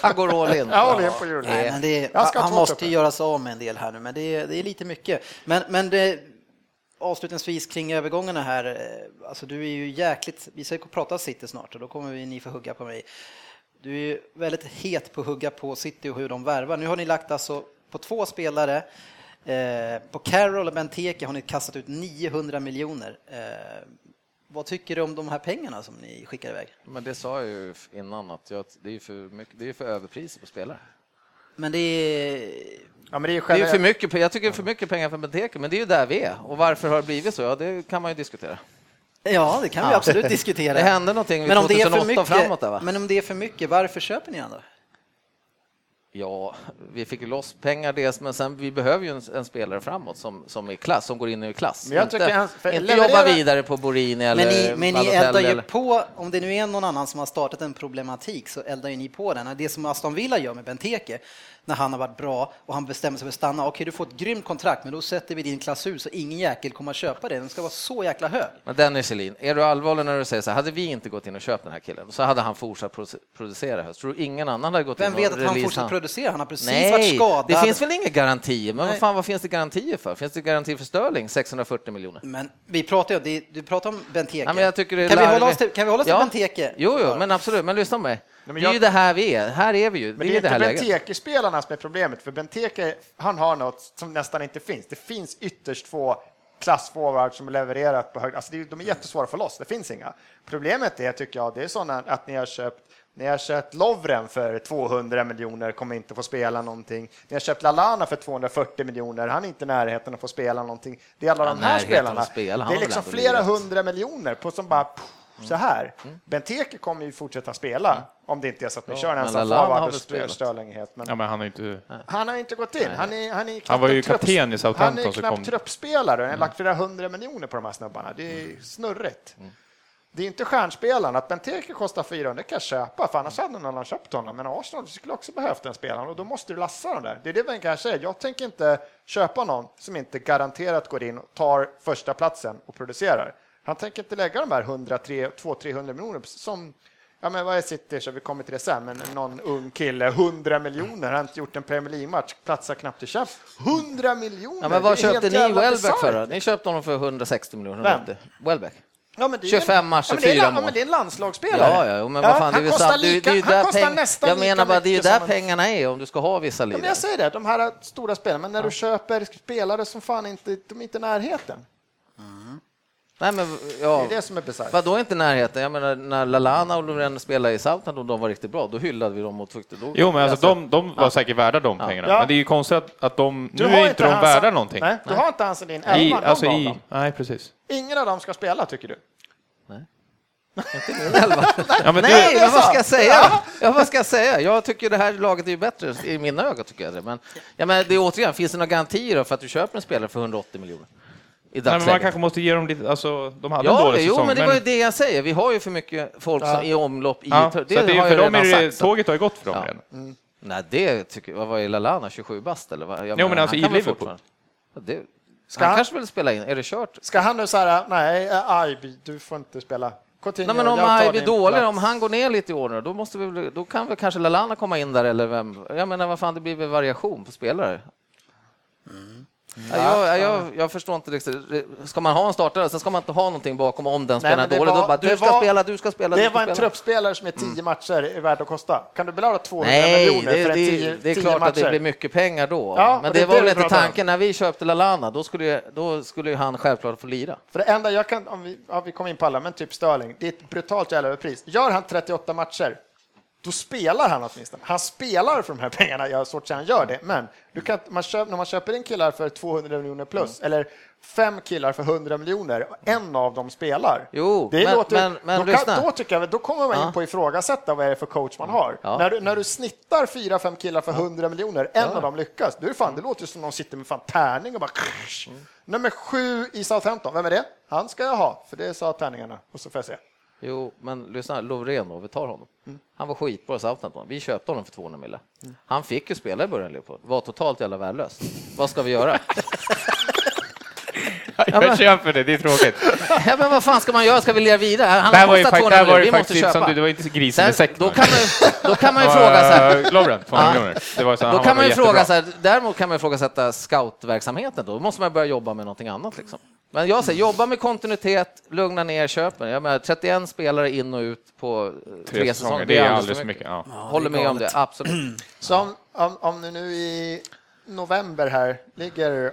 Han går all in.
Jag håller in på Euroleague.
Nej, men det,
Jag ska ha
han
två
måste
trupper.
ju göra sig av med en del här nu, men det, är- det är lite mycket. Men, men det, avslutningsvis kring övergångarna här, eh, alltså du är ju jäkligt, vi ska ju prata City snart och då kommer vi, ni få hugga på mig. Du är ju väldigt het på att hugga på City och hur de värvar. Nu har ni lagt alltså på två spelare, eh, på Carroll och Benteke har ni kastat ut 900 miljoner. Eh, vad tycker du om de här pengarna som ni skickar iväg?
Men det sa jag ju innan att jag, det är ju för, mycket, det är ju för överpriser på spelare.
Men det är...
Ja, men det är ju
Det är ju
generellt-
för mycket, pe- jag tycker det är för mycket pengar för Benteke, men det är ju där vi är. Och varför har det blivit så? Ja, det kan man ju diskutera.
Ja, det kan vi
Ja.
absolut diskutera.
Det hände någonting vid
Men om det är för
2008
mycket,
framåt där, va?
Men om det är för mycket, varför köper ni han då?
Ja, vi fick ju loss pengar dels, men sen vi behöver ju en, en spelare framåt som, som är klass, som går in i klass.
Men jag
inte
tycker han- för-
inte
leverera-
jobba vidare på Borini eller
Men ni, men ni
Balotelli
eldar ju
eller-
på, om det nu är någon annan som har startat en problematik så eldar ju ni på den. Det som Aston Villa gör med Benteke, när han har varit bra och han bestämmer sig för att stanna, okej du får ett grymt kontrakt men då sätter vi din klass ut så ingen jäkel kommer att köpa det, den ska vara så jäkla hög.
Men Dennis Kjellin, är du allvarlig när du säger så här, hade vi inte gått in och köpt den här killen så hade han fortsatt produ- producera i höst. Tror du ingen annan hade gått
Vem
in och
vet att han
release
fortsätter
han?
producera? Han har precis varit
Nej,
skadad.
det finns väl inga garantier. Men vad
Nej.
fan, vad finns det garantier för? Finns det garantier för Sterling, 640 miljoner?
Men vi pratar ju, det- du pratar om Benteke.
Nej, men jag tycker det är
kan, vi hålla
larvigt.
oss till, kan vi hålla oss till
Ja.
Benteke?
Jo, jo, men absolut. Men lyssna på mig.
men
Det är
jag-
ju det här vi är. Här är vi ju.
Men
vi
det
är
är
i det här
inte
läget.
Benteke-spelarna som är problemet, för Benteke, han har något som nästan inte finns. Det finns ytterst få klassforwards som levererat på hög... Alltså det är-
Mm.
de är jättesvåra att få loss, det finns inga. Problemet är, tycker jag, det är sådana att ni har köpt ni har köpt Lovren för 200 miljoner, kommer inte få spela någonting. Ni har köpt Lalana för 240 miljoner, han är inte i närheten att få spela någonting. Det är alla de här
närheten
spelarna.
att spela, han
det är
har väl
liksom
ändå
flera
lirat.
hundra miljoner på som bara pff, så
Mm.
här. Benteke kommer ju fortsätta spela om det inte är så att ni kör en
men
ensam
Lallana har
forward
väl
och styr
spelat.
Sterling helt. Men
Ja, men han är inte...
han har inte gått in. Han, är, han, är knappt
Han var ju
en trupps-
kapten i Southampton
Han är
så
knappt
kom- Mm.
truppspelare. Han har lagt flera hundra miljoner på de här snubbarna. Det är snurrigt. Det är inte stjärnspelaren. Att Benteke kostar 400 kan jag köpa, för annars hade någon annan köpt honom. Men Arsenal skulle också behövt den spelaren och då måste du lassa den där. Det är det Wenger säger. Jag tänker inte köpa någon som inte garanterat går in och tar första platsen och producerar. Han tänker inte lägga de här 200-300 miljoner som Ja, men vad är City? Så vi kommer till det sen. Men någon ung kille, 100 miljoner. Han har inte gjort en Premier League-match, platsar knappt i Champions. 100 miljoner!
Ja, men vad
Det är helt
köpte ni
jävla
Welbeck
bisarrt.
för då? Ni köpte honom för 160 miljoner.
Vem?
180. Welbeck.
Ja, men det är
25
en-
matcher,
ja, men det är en-
fyra
Ja,
mål.
men det är en landslagsspelare.
Ja, ja, jo, men vad fan, det är
han
ju
kostar
sant. Det är ju-
lika,
det är ju
han
där
kostar
peng-
nästan
Jag menar
lika
bara, det är ju
mycket
där
som en-
pengarna är om du ska ha vissa
Ja,
ligor.
men jag säger det, de här stora spelarna, men när du köper spelare som fan inte, de är inte i närheten.
Nej, men
Det
ja.
är det som är bisarrt.
Vadå inte närheten? Jag menar, när Lalana och Loreen spelade i Southampton och de var riktigt bra, då hyllade vi dem och tyckte då...
Jo, men alltså, de, de var säkert värda de pengarna.
Ja.
Men det är ju konstigt att, att de...
Du
nu
har
är inte de
hans-
värda någonting.
Nej, du har inte hans i din
I,
elva, någon
alltså,
av
i,
dem.
nej, precis.
Ingen av dem ska spela, tycker du?
Ja, men
Nej,
det,
men vad ska jag säga? Ja, vad ska jag säga? Jag tycker det här laget är ju bättre i mina ögon, tycker jag det. Men, ja, men det är återigen, finns det några garantier då för att du köper en spelare för 180 miljoner? I
nej, men man
dagsläget?
kanske måste ge dem lite... Alltså, de hade en
Ja,
dålig
jo,
säsong.
men det var ju det jag säger. Vi har ju för mycket folk som i omlopp i...
Ja,
det,
så att det är ju
har
för
jag
dem
redan
är det,
sagt. Så.
tåget har ju gått för dem
Ja.
redan.
Nej, det tycker jag. Vad är Lalana? 27 bast eller? vad? Jag
men
han
alltså i
kan väl
Liverpool.
fortfarande- Ja, det,
Ska
han,
han-
kanske vill spela in. Är det kört?
Ska han nu så här, nej, eh, Aiby, du får inte spela. Coutinho,
Nej, men om
jag tar
han blir
din
dålig,
plats.
om han går ner lite i år nu, då, måste vi, väl- då kan väl kanske Lalana komma in där eller vem? Jag menar, vad fan, det blir väl variation på spelare. Mm. Ja, jag, jag, jag förstår inte riktigt. Ska man ha en startare, sen ska man inte ha någonting bakom om den
Nej,
spelaren
men
är
det
dålig.
var-
då bara,
det
du ska
var-
spela, du ska spela, du
Det
ska
var en
spela. Mm.
truppspelare som är 10 matcher är värd att kosta. Kan du betala 200
Nej,
miljoner
det,
för en
det,
10
det är
10
klart att det
matcher?
blir mycket pengar då.
Ja,
men
och
det,
det är
var
det
väl
vi
inte
pratar om.
tanken när vi köpte Lalana, då skulle, ju- då skulle ju han självklart få lira.
För det enda jag kan, om vi, ja, vi kommer in på alla, men typ Sterling, det är ett brutalt jävla överpris. Gör han 38 matcher, då spelar han åtminstone. Han spelar för de här pengarna, jag har svårt att säga han gör det, men du kan, man köp, när man köper in killar för 200 miljoner
Mm.
plus, eller fem killar för 100 miljoner, och en av dem spelar.
Jo,
det
men-
låter,
men- men
då, kan,
lyssna.
då, tycker jag, då kommer man
Ja.
in på att ifrågasätta vad är det för coach man har.
Ja.
När, du, när du snittar fyra, fem killar för 100 miljoner, en av dem lyckas, då är det, fan, det låter som någon sitter med fan tärning och bara...
Mm.
Nummer sju i Southampton, vem är det? Han ska jag ha, för det sa tärningarna. Och så får jag se.
Jo, men lyssna, Lovren då, vi tar honom.
Mm.
Han var skitbra i Southampton. Vi köpte honom för 200 mille. Han fick ju spela i början, Leopold. Var totalt jävla värdelös. Vad ska vi göra? men-
Jag köper det, det är tråkigt.
ja, men vad fan ska man göra? Ska vi leva vidare? Han
Det här
har
var ju
kostat
fakt- det
200
här var
miljoner,
ju
vi måste
faktiskt som
köpa.
du, det var inte grisen i
Sen,
säkten.
då, kan man, ju- då kan man ju fråga sig.
Eh, Lovren, 200 miljoner. Det var så, han
Då
var
kan man ju
jättebra.
fråga så här, däremot kan man ju ifrågasätta scoutverksamheten då. Då måste man börja jobba med någonting annat liksom. Men jag säger, jobba med kontinuitet, lugna ner köpen. Jag menar, 31 spelare in och ut på eh,
Tre säsonger, det är alldeles för mycket. Ja.
Håller med om det, absolut.
Så om, om, om ni nu i november här ligger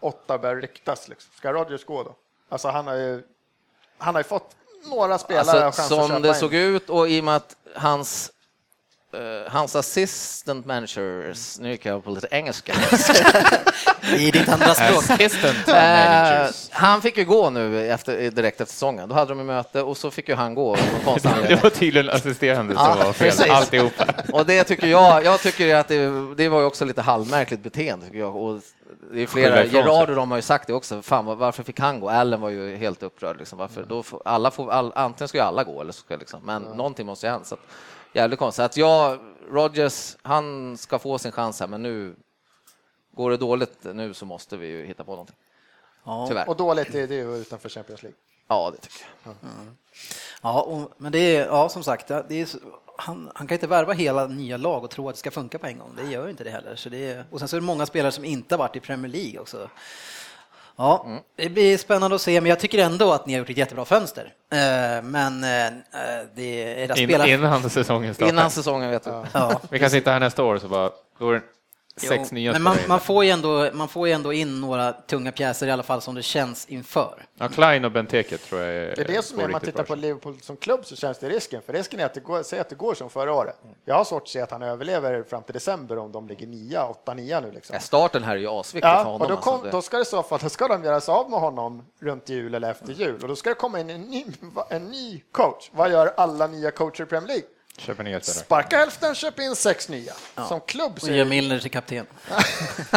åtta bör ryktas, liksom. ska Rodgers gå då? Alltså han har ju, han har ju fått några spelare
Alltså,
och chans att
som
köpa
det
in.
såg ut och i och med att hans eh, Hans assistant managers, nu kan jag på lite engelska.
I ditt andra språk.
Assistant
Eh,
managers.
han fick ju gå nu efter, direkt efter säsongen. Då hade de ju möte och så fick ju han gå. av någon konstig anledning.
Det var tydligen assisterande som
Ja,
var fel,
precis.
alltihopa.
Och det tycker jag, jag tycker att det, det var ju också lite halvmärkligt beteende tycker jag. Och det
Skylla
är flera,
ifrån sig.
Gerard och de har ju sagt det också, fan vad- varför fick han gå? Allen var ju helt upprörd liksom, varför? Då får, alla får, all, antingen ska ju alla gå eller så ska liksom, men någonting måste ju hända. Så att, jävligt konstigt. Att jag, Rogers, han ska få sin chans här, men nu går det dåligt nu så måste vi ju hitta på någonting. Tyvärr.
Och dåligt är det ju utanför Champions League.
Ja, det tycker jag.
Ja, och, men det är, ja som sagt, ja, det är, så- han, han kan inte värva hela nya lag och tro att det ska funka på en gång. Det gör ju inte det heller. Så det är, och sen så är det många spelare som inte har varit i Premier League också. Ja,
Mm.
det blir spännande att se, men jag tycker ändå att ni har gjort ett jättebra fönster. Eh, men eh, eh, det är era
In,
spelare...
innan säsongen startar.
Innan säsongen vet du.
Ja.
Vi kan sitta här nästa år så bara, då är det sex
Jo,
nya
men man,
spelare.
man, får ju ändå, man får ju ändå in några tunga pjäser i alla fall som det känns inför.
Ja, Klein och Benteke tror jag är...
Det är det som
går
är, om man
riktigt
tittar
bra.
på Liverpool som klubb så känns det risken, för risken är att det går, säg att det går som förra året. Jag har svårt att se att han överlever fram till december om de ligger nia, åtta, nia nu liksom.
Ja, Starten här är ju asviktig för
Ja,
honom.
och då, kom,
alltså. Det-
då ska det i så fall, då ska de göra sig av med honom runt jul eller efter jul och då ska det komma in en ny, en ny coach. Vad gör alla nya coacher i Premier League?
Köper nya spelare.
Sparka hälften, köp in sex nya. Som klubb så
Och
är
gör
det-
Milner till kapten.
Nej,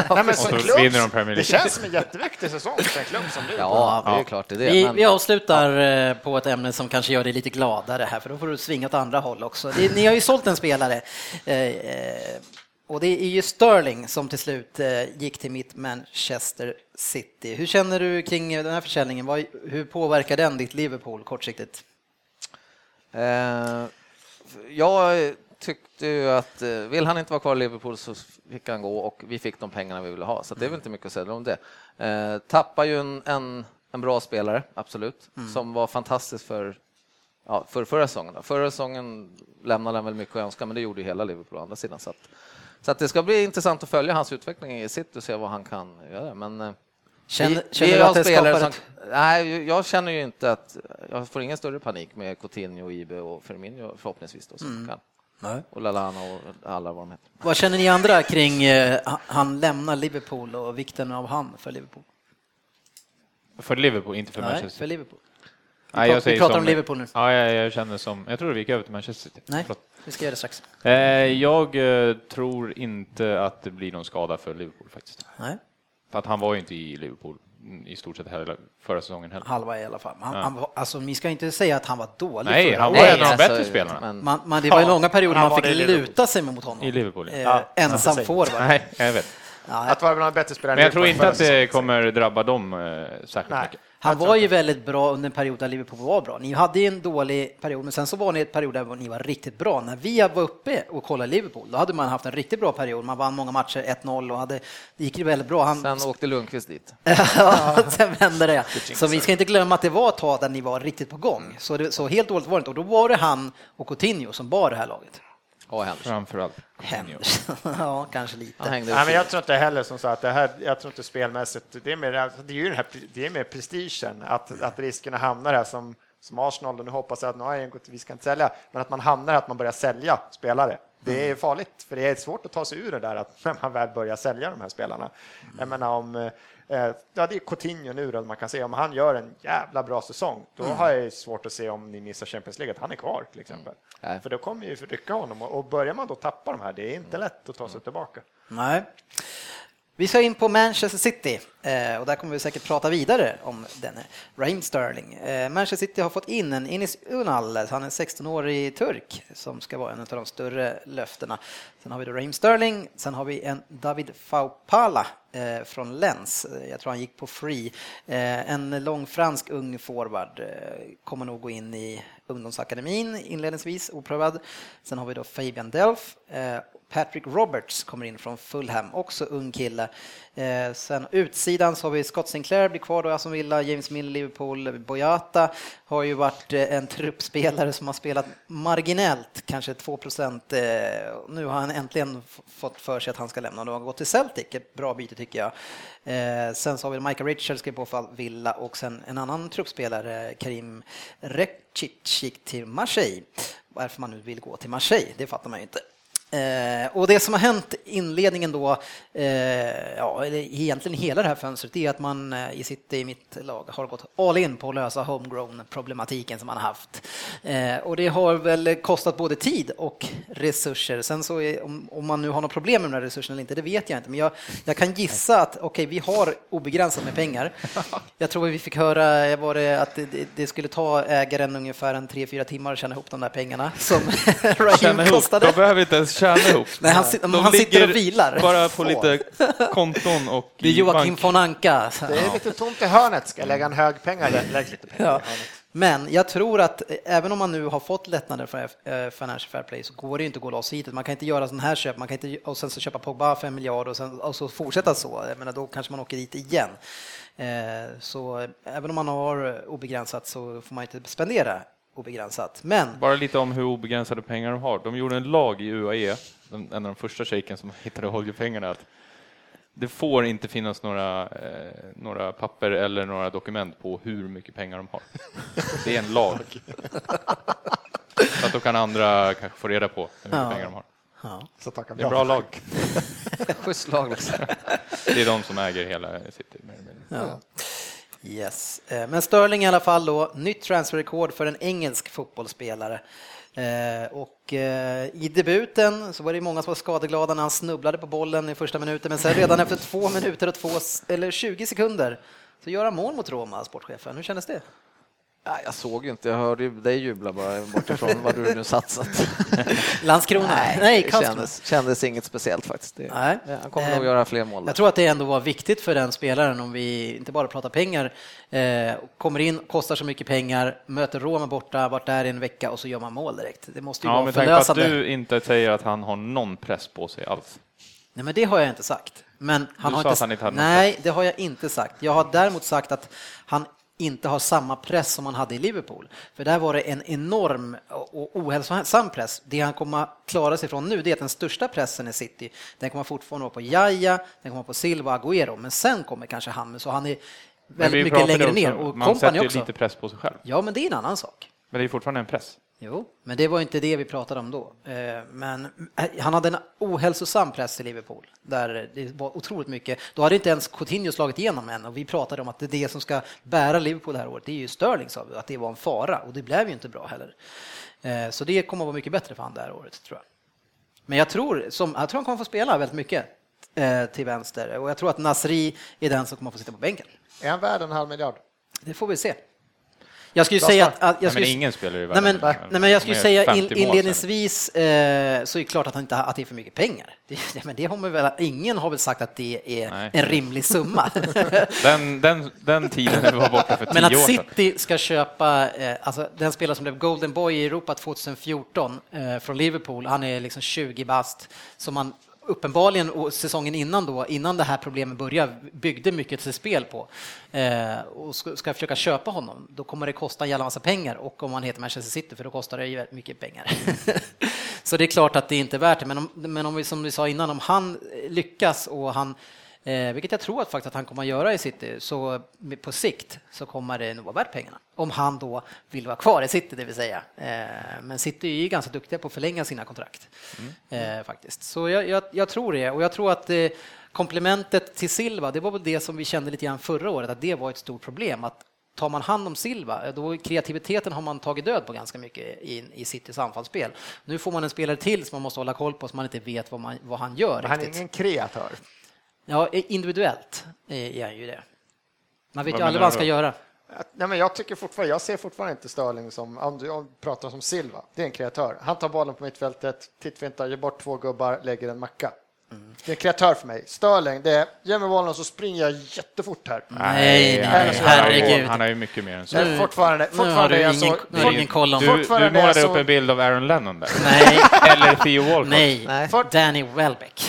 men
Och
som
så
klubb-
vinner de Premier League.
Det känns som en jätteviktig säsong för en klubb som du.
Ja, det är klart det är det.
Vi,
men-
vi avslutar eh, på ett ämne som kanske gör dig lite gladare här, för då får du svinga åt andra håll också. Det, ni har ju sålt en spelare. eh, eh, Och det är ju Sterling som till slut eh, gick till mitt Manchester City. Hur känner du kring eh, den här försäljningen? Vad, hur påverkar den ditt Liverpool kortsiktigt?
Eh, jag tyckte ju att eh, vill han inte vara kvar i Liverpool så fick han gå och vi fick de pengarna vi ville ha. Så det är väl inte mycket att säga om det. Eh, tappar ju en, en, en bra spelare, absolut, som var fantastisk för Ja, för förra säsongen. Då. Förra säsongen lämnade han väl mycket att önska, men det gjorde ju hela Liverpool å andra sidan. Så, att, så att det ska bli intressant att följa hans utveckling i sitt och se vad han kan göra. Men, eh,
Känner-
vi-
känner
vi
du
har
att det
spelare
skapar
Nej, jag känner ju inte att... Jag får ingen större panik med Coutinho, Ibe och Firmino förhoppningsvis. Då, som
Mm.
kan. Och Lallana och alla vad de heter.
Vad känner ni andra kring eh, han lämnar Liverpool och vikten av han för Liverpool?
För Liverpool, inte för
Nej,
Manchester
för
City.
Liverpool.
Nej,
Vi
jag
pratar-
säger
vi pratar
som-
om Liverpool nu.
Ja, jag, jag känner som... Jag tror vi gick över till Manchester City.
Nej,
Förlåt.
vi ska göra det strax.
Eh, jag eh, tror inte att det blir någon skada för Liverpool faktiskt.
Nej.
För att han var ju inte i Liverpool mm, i stort sett hela förra säsongen heller.
Halva i alla fall. Han, han var, alltså, ni ska inte säga att han var dålig
Nej,
förra
han
året.
var en av de bättre spelarna.
alltså, Men,
Man, man, det var ju långa perioder
han
man
var
fick
det i Liverpool.
luta sig mot honom.
I Liverpool, ja.
Eh,
Ja,
ensam
precis.
forward.
Nej, jag vet.
Att vara bland de bättre spelarna
Men jag tror
i Europa
inte att
förra
det kommer drabba dem eh, särskilt
Nej.
mycket.
Han var ju väldigt bra under en period där Liverpool var bra. Ni hade ju en dålig period, men sen så var ni i en period där ni var riktigt bra. När vi var uppe och kollade Liverpool, då hade man haft en riktigt bra period. Man vann många matcher, 1-0 och hade, det gick ju väldigt bra. Han,
sen åkte Lundqvist dit.
Ja, sen vände det. Så vi ska inte glömma att det var ett tag där ni var riktigt på gång. Så, det, så helt dåligt var det inte. Och då var det han och Coutinho som bar det här laget.
Ja, Henderson.
Framförallt. Coutinho.
Henderson. ja, kanske lite.
Han hängde
Nej,
upp
men jag tror inte heller som sagt, det här, jag tror inte spelmässigt, det är mer, alltså, det är ju den här, det är mer prestigen, att, att riskerna hamnar här som, som Arsenal, och nu hoppas jag att nu har jag gått, vi ska inte sälja, men att man hamnar här, att man börjar sälja spelare. Det är farligt, för det är svårt att ta sig ur det där att när man väl börjar sälja de här spelarna. Jag menar om, eh, ja det är Coutinho nu då, man kan se om han gör en jävla bra säsong, då har jag ju svårt att se om ni missar Champions League, att han är kvar till exempel.
Nej.
För då kommer ju rycka honom och och börjar man då tappa de här, det är inte lätt att ta sig tillbaka.
Nej. Vi ska in på Manchester City eh, och där kommer vi säkert prata vidare om denne Raheem Sterling. Eh, Manchester City har fått in en Enis Unal, han är en 16-årig turk som ska vara en av de större löftena. Sen har vi då Raheem Sterling, sen har vi en David Faupala eh, från Lens, Eh, jag tror han gick på free. Eh, en lång fransk ung forward eh, kommer nog gå in i ungdomsakademin inledningsvis, oprövad. Sen har vi då Fabian Delph eh, Patrick Roberts kommer in från Fulham, också ung kille. Eh, sen utsidan så har vi Scott Sinclair blir kvar då, i Aston Villa, James Miller, Liverpool, Boyata har ju varit eh, en truppspelare som har spelat marginellt, kanske 2 procent. Eh, Nu har han äntligen f- fått för sig att han ska lämna, då har han gått till Celtic, ett bra byte tycker jag. Eh, sen så har vi Michael Richards skrev på för Villa och sen en annan truppspelare, Karim Rekic, gick till Marseille. Varför man nu vill gå till Marseille, det fattar man ju inte. Eh, och det som har hänt i inledningen då, eh, ja, eller egentligen hela det här fönstret, det är att man eh, i sitt, i mitt lag har gått all in på att lösa homegrown-problematiken som man har haft. Eh, och det har väl kostat både tid och resurser. Sen så, är, om, om man nu har något problem med de här resurserna eller inte, det vet jag inte. Men jag, jag kan gissa att, okej, vi har obegränsat med pengar. Jag tror vi fick höra, eh, var det att det, det- det skulle ta ägaren ungefär en 3-4 timmar att tjäna ihop de där pengarna som Raheem kostade.
De behöver inte ens tjäna ihop.
Nej, han sit-
De
han sitter och
ligger
vilar.
Bara på lite konton och
Det är
i
Joakim
bank.
von Anka.
Det är lite tomt i hörnet. Ska jag lägga en hög pengar? Lä- Lägg lite pengar i
Ja.
hörnet.
Men jag tror att eh, även om man nu har fått lättnader för eh, Financial Fair Play så går det ju inte att gå loss hit. Man kan inte göra sådana här köp man kan inte, och sen så köpa Pogba 5 miljarder och, sen, och så fortsätta så. Jag menar, då kanske man åker dit igen. Eh, Så eh, även om man har obegränsat så får man inte spendera obegränsat. Men
Bara lite om hur obegränsade pengar de har. De gjorde en lag i UAE, den- en av de första shejken som hittade oljepengarna, att det får inte finnas några, eh, några papper eller några dokument på hur mycket pengar de har. Det är en lag. Så att då kan andra kanske få reda på hur mycket
Ja.
pengar de har.
Så tackar
Det är
vi.
en bra
av.
lag.
Schysst lag. liksom.
Det är de som äger hela City. mer eller mindre.
Yes, Eh, men Sterling i alla fall då, nytt transferrekord för en engelsk fotbollsspelare. Eh, Och eh, i debuten så var det många som var skadeglada när han snubblade på bollen i första minuten, men sen redan efter två minuter och två, s- eller 20 sekunder så gör han mål mot Roma, sportchefen. Hur kändes det?
Ja, jag såg ju inte, jag hörde ju dig jubla bara bortifrån vad du nu satsat.
Landskrona? Nej,
det
Karlskrona.
kändes, kändes inget speciellt faktiskt. Det,
Nej.
Han kommer
Eh,
nog göra fler mål. där.
Jag tror att det ändå var viktigt för den spelaren om vi inte bara pratar pengar, eh, kommer in, kostar så mycket pengar, möter Roma borta, vart där i en vecka och så gör man mål direkt. Det måste ju
Ja,
vara
med tanke på att
förlösande.
du inte säger att han har någon press på sig alls.
Nej, men det har jag inte sagt. Men han
Du
har inte...
sa att han inte hade någon
Nej, det har jag inte sagt. Jag har däremot sagt att han inte har samma press som han hade i Liverpool. För där var det en enorm och ohälsosam press. Det han kommer klara sig från nu, det är att den största pressen i City, den kommer fortfarande vara på Jaya, den kommer vara på Silva och Agüero, men sen kommer kanske Hammes och han är
Men vi
väldigt mycket
pratade
längre
också-
ner. Och
Man sätter
kompani
ju
också.
lite press på sig själv.
Ja, men det är en annan sak.
Men det är fortfarande en press.
Jo, men det var inte det vi pratade om då. Eh, Men eh, han hade en ohälsosam press i Liverpool där det var otroligt mycket. Då hade inte ens Coutinho slagit igenom än och vi pratade om att det är det som ska bära Liverpool det här året. Det är ju Sterling sa vi, att det var en fara och det blev ju inte bra heller. Eh, Så det kommer att vara mycket bättre för han det här året tror jag. Men jag tror, som, jag tror han kommer få spela väldigt mycket eh, till vänster och jag tror att Nasri är den som kommer få sitta på bänken.
Är han värd en halv miljard?
Det får vi se. Jag skulle
Bra
säga
svar.
att... att jag
Nej,
skulle,
men ingen spelare är värd
nej, men,
en halv miljard.
nej, men jag skulle
De är
säga
50
in,
mål sen.
inledningsvis eh, så är det klart att, han inte, har- att det är för mycket pengar. Det, nej, men det har man väl, ingen har väl sagt att det är
Nej.
en rimlig summa.
Den, den, den tiden när vi var borta för
men
tio år
att
sedan.
City ska köpa, eh, alltså den spelare som blev Golden Boy i Europa 2014 eh, från Liverpool, han är liksom 20 bast, som man uppenbarligen och säsongen innan då, innan det här problemet började, byggde mycket till spel på eh, och ska, ska försöka köpa honom, då kommer det kosta en jävla massa pengar och om han heter Manchester City, för då kostar det ju väldigt mycket pengar. Så det är klart att det inte är värt det, men om, men om vi, som vi sa innan, om han eh, lyckas och han Eh, vilket jag tror att faktiskt att han kommer att göra i City, så med- på sikt så kommer det nog vara värt pengarna. Om han då vill vara kvar i City, det vill säga. Eh, men City är ju ganska duktiga på att förlänga sina kontrakt.
Mm.
Eh, faktiskt. Så jag, jag, jag tror det, och jag tror att eh, komplementet till Silva, det var väl det som vi kände lite grann förra året, att det var ett stort problem. Att tar man hand om Silva, eh, då kreativiteten har man tagit död på ganska mycket i, i Citys anfallsspel. Nu får man en spelare till som man måste hålla koll på, som man inte vet vad, man, vad han gör.
Men Han är
riktigt.
ingen kreatör.
Ja, individuellt eh, är han ju det. Man vet
Vad
ju aldrig
menar
vad han
du
ska
då?
göra.
Att- Nej, men jag, tycker fortfarande, jag ser fortfarande inte Störling som, om du om du pratar som Silva, det är en kreatör. Han tar bollen på mittfältet, tittfintar, ger bort två gubbar, lägger en macka. Det är en kreatör för mig. Störling, det är, ge mig bollen och så springer jag jättefort här.
Nej, nej,
han har ju-
herregud.
Han har ju mycket mer än så.
Jag är fortfarande, fortfarande
du
är jag
ingen-
så...
nu har du ingen koll om-
Du, du
Fortfarande är jag
målade
så-
upp en bild av Aaron Lennon där.
Nej,
Eller Theo Walcott.
nej.
Nej.
Danny Welbeck.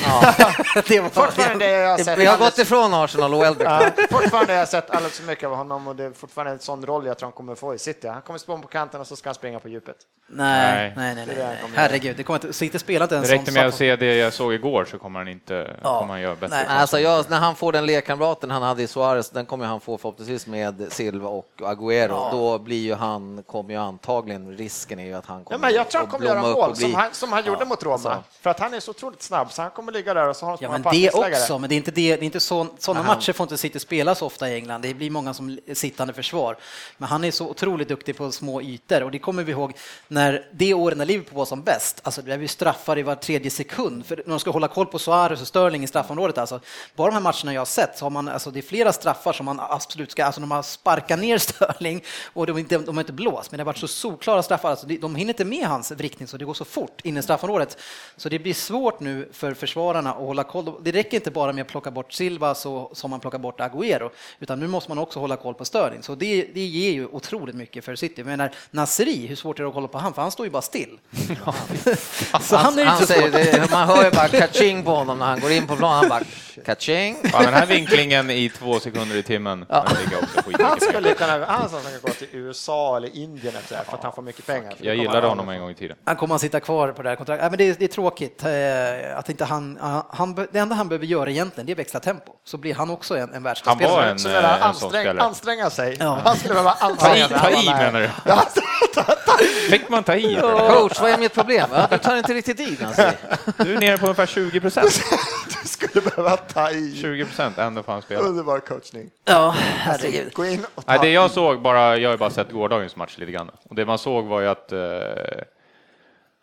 det var
Fortfarande har jag sett
Vi har
alldeles-
gått ifrån Arsenal och Welbeck.
Ja, fortfarande har jag sett alldeles för mycket av honom och det är fortfarande en sån roll jag tror han kommer få i City. Han kommer spå på kanten och så ska han springa på djupet.
Nej,
Nej.
nej, nej,
Det är
nej,
det han
nej.
kommer göra.
Herregud, det kommer inte, City spelar inte en
Det
sån
räckte med att
sak.
se det jag såg igår så kommer han inte kommer han göra bättre.
Nej.
chanser.
Alltså jag, när han får den lekkamraten han hade i Suarez, den kommer han få förhoppningsvis med Silva och Agüero. Då blir ju han, kommer ju antagligen, risken är ju att han
Ja,
kommer
men jag tror han
att
kommer göra
blomma upp
mål
och bli-
som han, som han gjorde
Ja,
mot Roma.
alltså.
För att han är så otroligt snabb så han kommer ligga där och så har han så
Ja,
många
men det
passningsläggare.
också, men det är inte det, det är inte så, sådana matcher får inte City spela så ofta i England. Det blir många som l- sittande försvar. Men han är så otroligt duktig på små ytor och det kommer vi ihåg när det året när Liverpool var som bäst. Alltså det blev ju straffar i var tredje sekund. För när de ska hålla koll på Suarez och Sterling i straffområdet alltså. Bara de här matcherna jag har sett så har man, alltså det är flera straffar som man absolut ska, alltså de har sparkat ner Sterling och de, har inte, de har inte blåst. Men det har varit så solklara straffar, alltså det- de hinner inte med hans riktning så det går så fort in i straffområdet. Så det blir svårt nu för försvararna att hålla koll. Det räcker inte bara med att plocka bort Silva så, som man plockar bort Agüero, utan nu måste man också hålla koll på Sterling. Så det, det ger ju otroligt mycket för City. Men när Nasri, hur svårt är det att hålla på han? För han står ju bara still. så han är ju
han
inte så
säger
svår.
det, man hör ju bara kaching på honom när han går in på plan. Han bara kaching.
Ja, men den här vinklingen i två sekunder i timmen. den ligger också skitmycket
Han
pengar.
skulle kunna, han skulle kunna gå till USA eller Indien efter det här för att han får mycket pengar.
Jag gillade honom en gång i tiden.
Han kommer att sitta kvar på det här kontraktet. Nej, men det, är, det är tråkigt eh, att inte han, han, han... be- Det enda han behöver göra egentligen, det är växla tempo. Så blir han också en, en
Han
världsklassspelare.
var en,
Så
eh, en sån
ansträng,
spelare.
anstränga sig.
Ja.
Han skulle behöva
Ta
anstränga
i,
sig.
ta i
Han var
menar
med.
du? Fick man ta i?
Coach, vad är mitt problem? Va? Du tar inte riktigt i Nancy.
Du är nere på ungefär 20 procent.
Du skulle behöva ta i.
20 procent, ändå får han spela.
Underbar coachning.
Ja, herregud.
Gå in och ta
Nej, det jag såg bara, jag har ju bara sett gårdagens match lite grann. Och det man såg var ju att eh,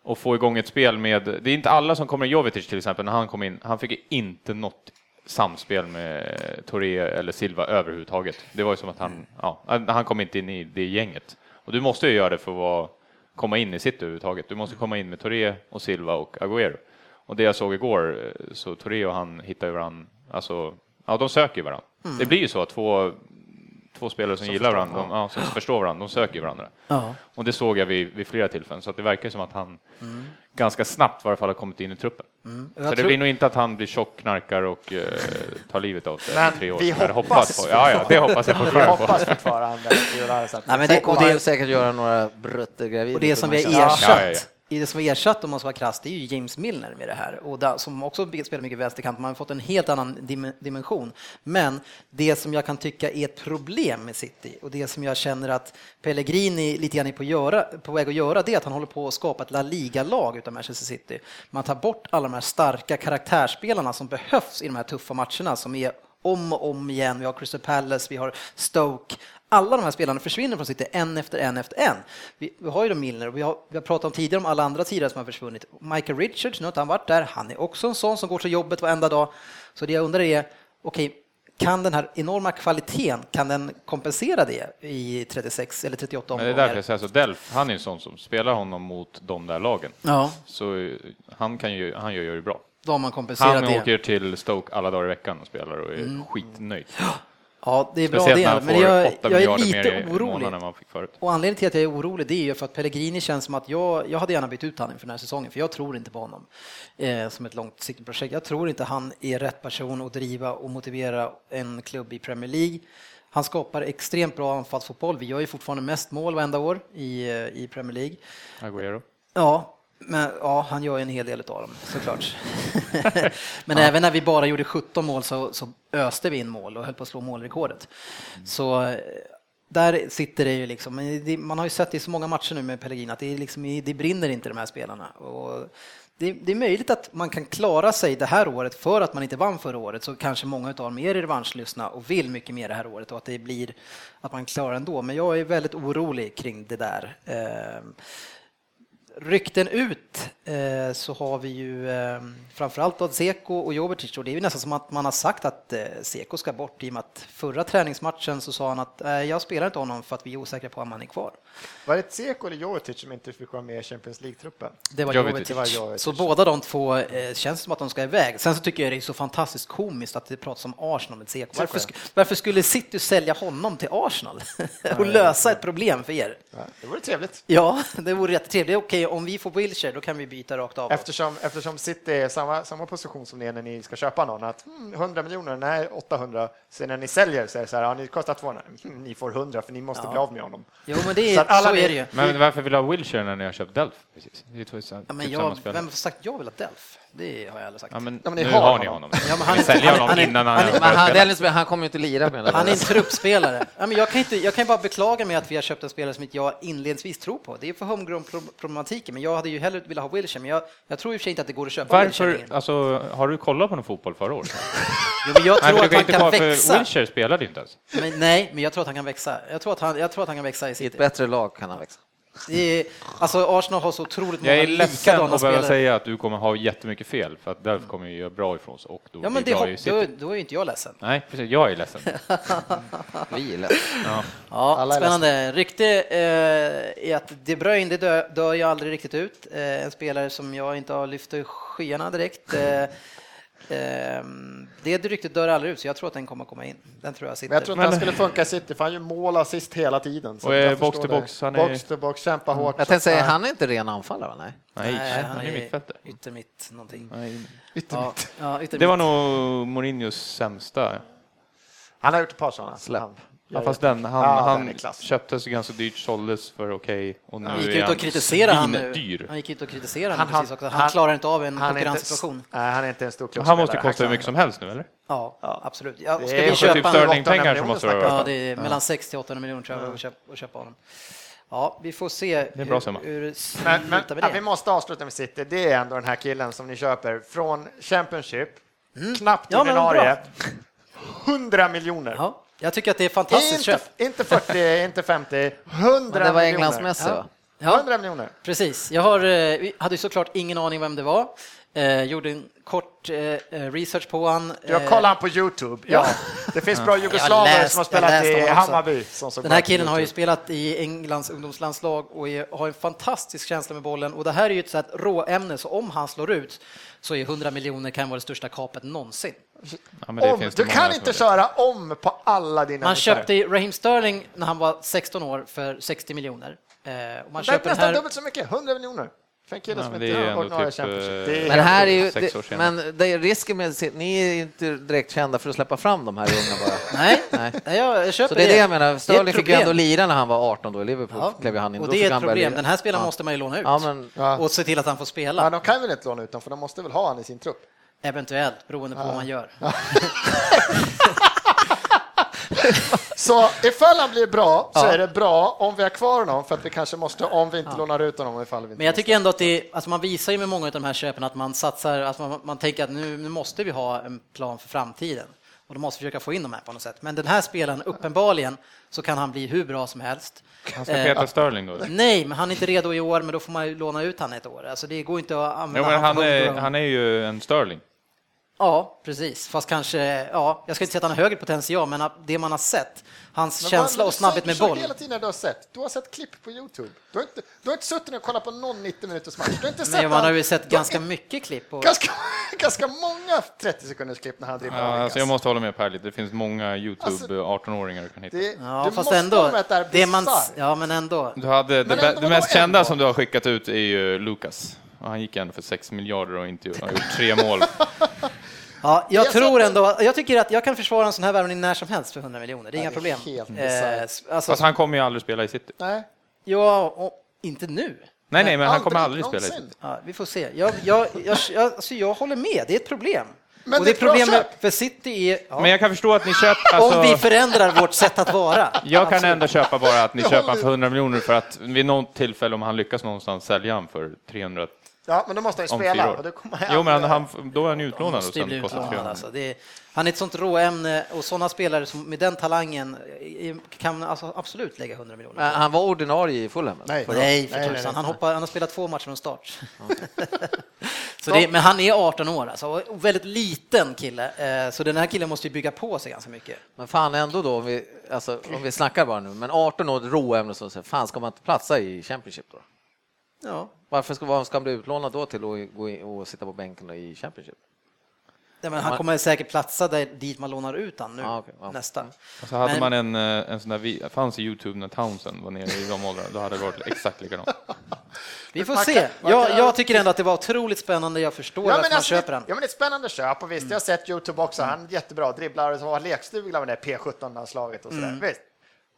och få igång ett spel med, det är inte alla som kommer in, Jovetic till exempel, när han kom in, han fick ju inte något samspel med Torre eller Silva överhuvudtaget. Det var ju som att
Mm.
han, ja, han kom inte in i det gänget. Och du måste ju göra det för att vara, komma in i sitt överhuvudtaget. Du måste komma in med Torre och Silva och Agüero. Och det jag såg igår, eh, så Torre och han hittar ju varandra, alltså, ja, de söker ju varandra.
Mm.
Det blir ju så att två två spelare som, gillar varandra, de, ja, som förstår varandra, de söker varandra.
Ja.
Och det såg jag vid, vid flera tillfällen, så att det verkar som att han ganska snabbt i varje fall har kommit in i truppen. Så
Mm. Jag
det
tror-
blir nog inte att han blir tjock, knarkar och eh, tar livet av sig
Men
i tre
vi
år. som jag hade
hoppas
på. Ja, ja, det hoppas jag
Jag
fortfarande på.
hoppas fortfarande att det är så att-
Nej, men
Sen
det, och
kommer han ju
det,
säkert göra några bröttergravida.
och det som vi har
Ja.
ersatt,
Ja, ja, ja.
i det som vi har ersatt om man ska vara krass, det är ju James Milner med det här. Och där, som också spelar mycket vänsterkant, man har fått en helt annan dim- dimension. Men det som jag kan tycka är ett problem med City och det som jag känner att Pellegrini lite grann är på, göra, på väg att göra, det är att han håller på att skapa ett La Liga-lag utav Manchester City. Man tar bort alla de här starka karaktärsspelarna som behövs i de här tuffa matcherna som är om och om igen. Vi har Crystal Palace, vi har Stoke. Alla de här spelarna försvinner från City, en efter en efter en. Vi, vi har ju då Milner och vi har, vi har pratat om tidigare om alla andra tidigare som har försvunnit. Michael Richards, nu har inte han varit där, han är också en sån som går till jobbet varenda dag. Så det jag undrar är, okej, kan den här enorma kvaliteten, kan den kompensera det i 36 eller 38
Men
omgångar?
det är därför jag säger så, Delf, han är en sån som spelar honom mot de där lagen.
Ja,
Så eh, han, kan ju, han gör ju det bra.
då har man kompenserat
Han
det.
åker till Stoke alla dagar i veckan och spelar och är skitnöjd.
Ja, det är bra
Speciellt när
det,
han
men jag,
får 8
jag är
miljarder mer
lite
i
orolig.
månaden än man fick förut.
Och anledningen till att jag är orolig det är ju för att Pellegrini känns som att jag, jag hade gärna bytt ut honom inför den här säsongen för jag tror inte på honom eh, som ett långsiktigt projekt. Jag tror inte han är rätt person att driva och motivera en klubb i Premier League. Han skapar extremt bra anfallsfotboll. Vi gör ju fortfarande mest mål varenda år i, eh, i Premier League.
Agüero.
Ja, men, ja, han gör ju en hel del av dem såklart. men även när vi bara gjorde 17 mål så, så öste vi in mål och höll på att slå målrekordet. Så eh, där sitter det ju liksom, men det, man har ju sett det i så många matcher nu med Pellegrini att det, är liksom, det brinner inte de här spelarna. Och det, det är möjligt att man kan klara sig det här året för att man inte vann förra året så kanske många av dem är revanschlystna och vill mycket mer det här året och att det blir att man klarar ändå. Men jag är väldigt orolig kring det där. Ehm, rykten ut eh, så har vi ju eh, framförallt av Seko och Jovetic och det är ju nästan som att man har sagt att eh, Seko ska bort i och med att förra träningsmatchen så sa han att eh, jag spelar inte honom för att vi är osäkra på om han är kvar.
Var det Tseko eller Jovetic som inte fick vara med i Champions League-truppen?
Det var
Jovetic.
Jovetic.
Det var Jovetic.
Så båda de två eh, känns som att de ska iväg. Sen så tycker jag det är så fantastiskt komiskt att det pratas om Arsenal med Seko. Varför, sk- varför skulle City sälja honom till Arsenal och lösa ett problem för er?
Ja, det vore trevligt.
Ja, det vore jättetrevligt. Det är Okej, om vi får Wilshire då kan vi byta rakt av.
Eftersom, eftersom City är samma, samma position som ni är när ni ska köpa någon. Att, mm, 100 miljoner, nej 800. Sen när ni säljer så är det så här, ja, ni kostar 200. Mm, ni får 100 för ni måste bli av med honom.
Jo, men det
Så
är,
att alla
så
ni-
är det ju.
Men varför vill du ha Wilshire när ni har köpt Delf? Precis. Det är två,
Ja, men
typ
jag,
samma
vem
spelare.
har sagt jag vill ha Delf? Det har jag aldrig sagt.
Ja, men,
Ja, men ni
nu
har
har, ni
honom.
honom.
Ja, men han-
han, ni säljer
han-
honom
han är-
innan han,
han är-
ens
Men
börjar
han,
spela.
Dennis, han kommer ju inte lira med den
Han är en truppspelare. Ja, men jag, kan inte, jag kan bara beklaga mig att vi har köpt en spelare som inte jag inledningsvis tror på. Det är för homegrown-problematiken, men jag hade ju hellre velat ha Wilshire. Men jag, jag tror i och för sig inte att det går att köpa
Varför,
Wilshire.
alltså, har du kollat på någon fotboll förra året?
Jo, men jag
Nej,
tror
men du
att
kan
han
inte
kan
kolla, för
växa.
Wilshire spelade ju inte ens.
Men, nej, men jag tror att han kan växa. Jag tror att han, jag tror att han kan växa i
I ett
City.
bättre lag kan han växa.
Det är, alltså, Arsenal har så otroligt många
Jag är ledsen
likadana
att behöva
spelare.
säga att du kommer ha jättemycket fel, för att Delf kommer ju göra bra ifrån sig och då
ja, men det,
blir bra
har-
i
då,
City.
då är ju inte jag ledsen.
Nej, precis. Jag är ledsen.
Vi gillar
Ja,
Alla är
spännande. Rykte eh, är att De Bruyne det dör, dör ju aldrig riktigt ut. Eh, en spelare som jag inte har lyft ur skyarna direkt. Eh, ehm, det ryktet dör aldrig ut, så jag tror att den kommer komma in. Den tror jag sitter.
Men jag tror inte han skulle funka i City, för han gör mål och assist hela tiden. Så
Och,
jag
eh,
förstår
box to
det.
box, han är-
Box to box, kämpa hårt.
Mm. Jag tänkte säga, han är inte ren anfallare va? Nej.
Nej,
Nej,
han är mittfältare.
Yttermitt någonting. Ja,
Ytterligt.
ja, yttermitt.
Det var nog Mourinhos sämsta.
eh, Han har gjort ett par sådana.
Släpp.
Han-
Ja, fast den, han,
Ja, den är
han
klass.
köptes ganska dyrt, såldes för okej och nu
han gick
är
ut
han
och kritiserade han nu.
svindyr.
Han gick ut och kritiserade
Han-
han, precis också. Han,
han-
klarar inte av en
Han är, inte,
konkurrenssituation.
nej, han är inte en stor klubbspelare.
Han måste kosta hur mycket som helst nu, eller?
Ja, absolut. Ja,
Det
ska
är
vi
för
köpa
typ
en-
Sterling.
Sterling-pengar som
miljoner
måste
snackar vi om.
Ja, det är mellan 60 och 800 miljoner tror jag att köpa, att köpa honom. Ja, vi får se
en bra summa.
hur, hur det slutar
Men, men
med
ja,
det.
vi måste avsluta med City. Det är ändå den här killen som ni köper från Championship,
Mm.
knappt
Ja, men
ordinarie, 100 miljoner.
ja, jag tycker att det är fantastiskt
Inte,
köp.
inte 40, inte 50, 100
Men det var
miljoner.
Englands Messi
Ja.
va?
Ja.
100 miljoner.
Precis. Jag har, eh, vi hade ju såklart ingen aning vem det var. Eh, gjorde en kort eh, eh, research på han.
Jag kollar han på Youtube. Ja. Det finns bra
Eh. Jag har
jugoslaver
läst-
som har
jag har
spelat
läst om
i
honom också.
Hammarby. Som såg
Eh, Den här
bra ut på
killen har ju
YouTube.
spelat i Englands ungdomslandslag och är, har en fantastisk känsla med bollen och det här är ju ett sånt här råämne så om han slår ut så är 100 miljoner kan vara det största kapet någonsin.
Ja, men det
om,
finns det
du
många
kan
som
inte
vet.
köra om på alla dina
Man
motorer.
köpte ju Raheem Sterling när han var 16 år för 60 miljoner. Eh, och man
Det är
köper den
nästan
här...
dubbelt så mycket, 100 miljoner. För en kille
Ja,
som
men
inte
det är ju
har
ändå
ordinarie
typ,
Champions League.
eh,
Det är
Men
helt
här är ju,
Sex år
det,
senare.
men det är risken med, sitt- ni är ju inte direkt kända för att släppa fram de här unga bara.
Nej,
Nej.
nej, jag jag köper
Så det är det jag menar,
ett
Sterling fick ju
problem.
ändå lira när han var 18 då i Liverpool.
Ja,
klev ju han in.
Och
Då
det
fick
är ett
han börja
problem.
lira.
Den här spelaren
Ja.
måste man ju låna ut
Ja, men-
Ja.
och se till att han får spela,
Ja, de kan väl inte låna ut dem, för de måste väl ha han i sin trupp.
eventuellt, beroende på vad man gör.
Så ifall han blir bra så
Ja.
är det bra om vi har kvar honom, för att vi kanske måste, om vi inte lånar ut honom, ifall vi inte
Men jag tycker ändå att det, alltså man visar ju med många av de här köpen att man satsar, att man, man tänker att nu, nu måste vi ha en plan för framtiden. Och då måste vi försöka få in de här på något sätt. Men den här spelaren, uppenbarligen, så kan han bli hur bra som helst.
Han ska
Eh,
peta Sterling då? eller?
Nej, men han är inte redo i år, men då får man ju låna ut han ett år. Alltså det går inte att använda
Jo, men han,
för hundra
är,
gånger.
han är ju en Sterling.
Ja, precis. Fast kanske, ja, jag ska inte säga att han har högre potential, men det man har sett, hans
Men
känsla
vad-
och snabbhet med
försök
boll.
hela tiden när du har sett. Du har sett klipp på Youtube. Du har inte, du har inte suttit ner och kollat på någon 90 minuters match. Du har inte sett
Men man har
han-
ju sett
du har
ganska
inte-
mycket klipp. Och,
ganska, ganska många 30 sekunders klipp när han dribblar.
Ja,
av
alltså jag
Lucas.
måste hålla med Per lite. Det finns många
Alltså-
YouTube-18-åringar du kan hitta.
Det,
ja,
du
fast
måste
ändå.
hålla med att det här är
det man,
bisarrt.
ja, men ändå.
Du hade det,
Men
bä-
ändå,
det mest
vadå
kända
ändå?
som du har skickat ut är ju Lucas. Och Han gick ändå för 6 miljarder och inte har gjort tre mål.
Ja, jag
Jag
tror
sätter-
ändå, jag tycker att jag kan försvara en sån här värvning när som helst för 100 miljoner. Det är inga
det är
problem.
helt
eh,
bisarrt.
alltså,
Fast han kommer ju aldrig spela i City.
Nej,
ja, och, inte nu.
Nej, nej, men han kommer aldrig
aldrig
spela i City.
Ja,
någonsin.
vi får se. Jag, jag, jag, jag, alltså, jag håller med, det är ett problem.
Men
och det
det är
är
ett bra
problem med,
köp.
för City är... Ja.
Men jag kan förstå att ni köper... Alltså,
Om vi förändrar vårt sätt att vara.
jag
Alltså-
kan ändå köpa bara att ni
Jag
köper
håller-
han för 100 miljoner för att vid något tillfälle om han lyckas någonstans sälja han för 300
Ja, men då måste han ju
om fyra
spela.
år.
Och det kommer
Jo, men
aldrig-
han, han, då är han ju utlånad och
Måste ju bli
sen kostar
utlånad,
300.
alltså. det är, han är ett sånt råämne och sådana spelare som, med den talangen eh, kan alltså absolut lägga 100 miljoner.
Men Han var ordinarie i Fulham. eller?
Nej,
Nej, för tusan. Han, hoppar, han har spelat två matcher från start. så det, men han är 18 år alltså, och väldigt liten kille, eh, så den här killen måste ju bygga på sig ganska mycket.
Men fan ändå då, om vi, alltså, om vi snackar bara nu, men 18 år, råämne och så, så, fan ska man inte platsa i Championship då?
Ja.
Varför ska, vad ska han bli utlånad då till att gå in och sitta på bänken i Championship?
Nej, men han
Man-
kommer säkert platsa där, dit man lånar ut han nu,
Ah, okej, ja.
nästa.
Och så hade
Men-
man en, eh, en sån där, vi- fanns i Youtube när Townsend var nere i de åldrarna, då hade det varit exakt likadant.
Vi får
Man kan-
se.
man
Jag,
kan-
jag tycker ändå att det var otroligt spännande, jag förstår
Ja,
att
men
man
alltså,
köper
det, ja,
den.
men det är ett spännande köp och visst, jag har sett Youtube också, han är jättebra, dribblar och så har lekstuga med det P17-landslaget och sådär.
Mm.
Visst.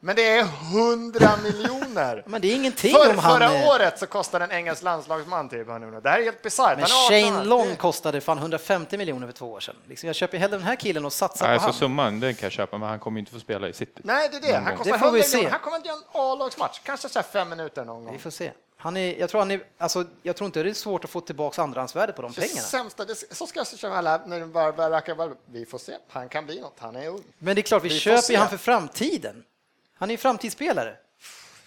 Men det är 100 miljoner!
Men det är ingenting
För,
om han...
förra
eh,
året så kostade en engelsk landslagsman typ 100 miljoner. Det här är helt bisarrt.
Men
Han är 18
Shane
år.
Long
Det-
kostade fan 150 miljoner för två år sedan. Liksom, jag köper hellre den här killen och satsar
Nej,
på
så
han.
summan, den kan jag köpa, men han kommer ju inte få spela i City.
Nej, det är det. Han kostar
Det får vi
100
se.
miljoner. Han kommer inte göra en A-lagsmatch. Kanske så här fem minuter någon
Vi
gång.
får se. Han är, jag, tror han är, alltså, jag tror inte det är svårt att få tillbaka andrahandsvärdet på de
Det
pengarna.
sämsta, det, så ska jag köra alla när de bara, bara, rackar- bara, vi får se. Han kan bli något. Han är ung.
Men det är klart, vi,
Vi får
köper
se.
ju han för framtiden. Han är ju framtidsspelare.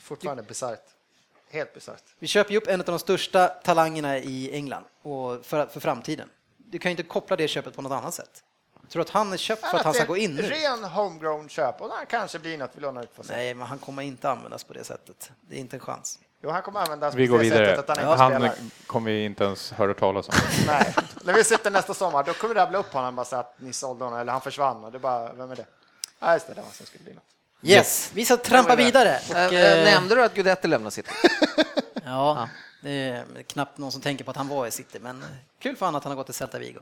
Fortfarande bisarrt. Helt bisarrt.
Vi köper ju upp en av de största talangerna i England och för, för framtiden. Du kan ju inte koppla det köpet på något annat sätt. Jag tror att han är köpt för att han
det är
ska gå in nu.
Ren homegrown köp och han kanske blir något vi lånar ut för sig.
Nej, men han kommer inte användas på det sättet. Det är inte en chans.
Jo, han kommer användas
Vi
på
går
det
vidare.
sättet att han inte
Han
spelar.
kommer vi inte ens höra talas om.
Nej. När vi sitter nästa sommar, då kommer det rabbla upp honom och bara säga att ni sålde honom eller han försvann och det är bara, vem är det? Nej, just det, det var han som skulle bli något.
Yes, vi ska trampa vidare. Och,
Äh,
eh,
Nämnde du att Guidetti lämnar sitt?
Ja, det är knappt någon som tänker på att han var i City, men kul för honom att han har gått till Celta Vigo.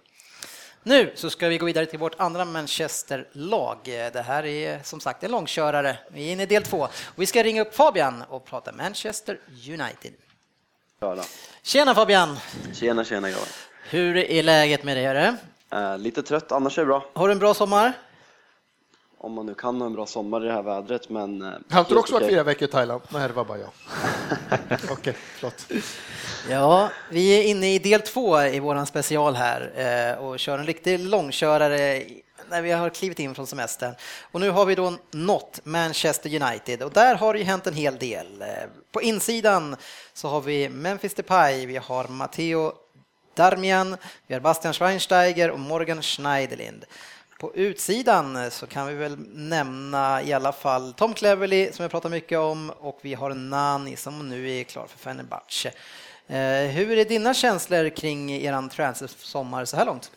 Nu så ska vi gå vidare till vårt andra Manchester-lag. Det här är som sagt en långkörare. Vi är inne i del två. Vi ska ringa upp Fabian och prata Manchester United.
Göra.
Tjena Fabian!
Tjena, tjena grabbar.
Hur är läget med dig? Är det?
Eh, lite trött, annars är det bra.
Har du en bra sommar?
Om man nu kan ha en bra sommar i det här vädret, men... eh,
Han tror
helt
också varit
okej.
fyra veckor i Thailand. Nej, det var bara jag. Okej, förlåt.
Ja, vi är inne i del två i våran special här eh, och kör en riktig långkörare. när vi har klivit in från semestern. Och nu har vi då nått Manchester United och där har det ju hänt en hel del. Eh, På insidan så har vi Memphis Depay, vi har Matteo Darmian, vi har Bastian Schweinsteiger och Morgan Schneiderlind. På utsidan eh, så kan vi väl nämna i alla fall Tom Cleverley som jag pratar mycket om och vi har Nani som nu är klar för Fenerbahce. Eh, Hur är dina känslor kring eran transfer-sommar så här långt?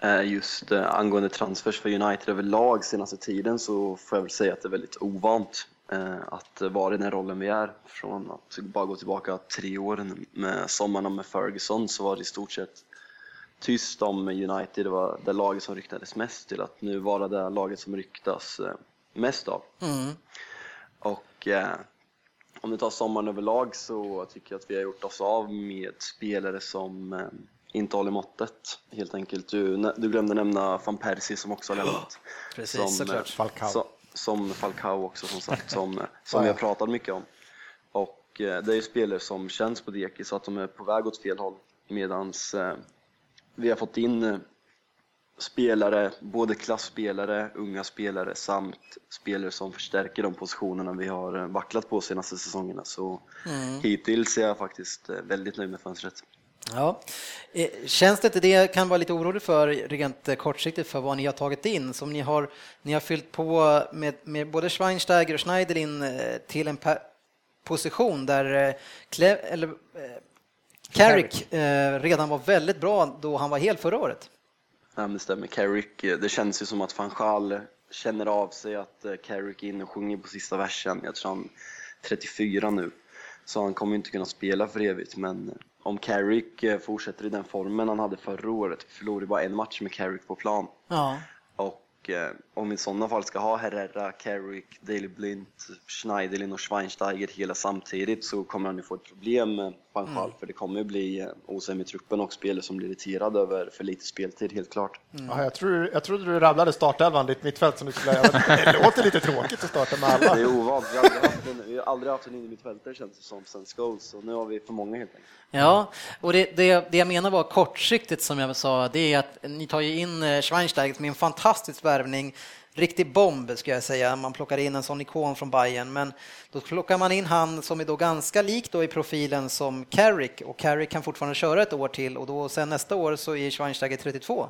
Eh, Just eh, angående transfers för United överlag senaste tiden så får jag väl säga att det är väldigt ovant eh, att vara i den rollen vi är. Från att bara gå tillbaka tre år med sommarna med Ferguson så var det i stort sett tyst om United, det var det laget som ryktades mest till att nu vara det laget som ryktas eh, mest av.
Mm.
Och eh, om vi tar sommaren överlag så tycker jag att vi har gjort oss av med spelare som eh, inte håller måttet helt enkelt. Du, nä- du glömde nämna van Persie som också har lämnat.
Precis, såklart.
eh,
Falcao.
så- som Falcao också som sagt, som, eh, som vi har pratat mycket om. Och eh, det är ju spelare som känns på dekis, så att de är på väg åt fel håll. Medans eh, vi har fått in eh, spelare, både klassspelare, unga spelare samt spelare som förstärker de positionerna vi har eh, vacklat på senaste säsongerna. Så hittills är jag faktiskt eh, väldigt nöjd med fönstret.
Ja. Eh, Känns det inte det jag kan vara lite orolig för rent eh, kortsiktigt för vad ni har tagit in? Som ni har, ni har fyllt på med, med både Schweinsteiger och Schneiderlin eh, till en pa- position där eh, Cle- eller, eh, Carrick eh, redan var väldigt bra då han var hel förra året.
Nej, men det stämmer. Carrick, eh, det känns ju som att van Gaal känner av sig att eh, Carrick är inne och sjunger på sista versen. Jag tror han är 34 nu, så han kommer ju inte kunna spela för evigt. Men eh, om Carrick eh, fortsätter i den formen han hade förra året, förlorar ju bara en match med Carrick på plan.
Ja.
Och eh, om vi i sådana fall ska ha Herrera, Carrick, Daley Blint, Schneiderlin och Schweinsteiger hela samtidigt så kommer han ju få ett problem med van Gaal, för det kommer ju bli eh, osämja i truppen och spelare som blir irriterade över för lite speltid helt klart.
Ja, jag, tror, jag trodde du rabblade startelvan, ditt mittfält som du skulle... jag vet- Det låter lite tråkigt att starta med
Det är
alla.
ovant. Vi har aldrig haft en, vi har aldrig haft en innermittfältare känns det som sen Scholes, så nu har vi för många helt enkelt.
Ja, och det, det, det jag menar var kortsiktigt som jag sa, det är att ni tar ju in eh, Schweinsteiger som är en fantastisk värvning, riktig bomb ska jag säga, man plockar in en sån ikon från Bayern, men då plockar man in han som är då ganska lik då i profilen som Carrick och Carrick kan fortfarande köra ett år till och då sen nästa år så är Schweinsteiger 32.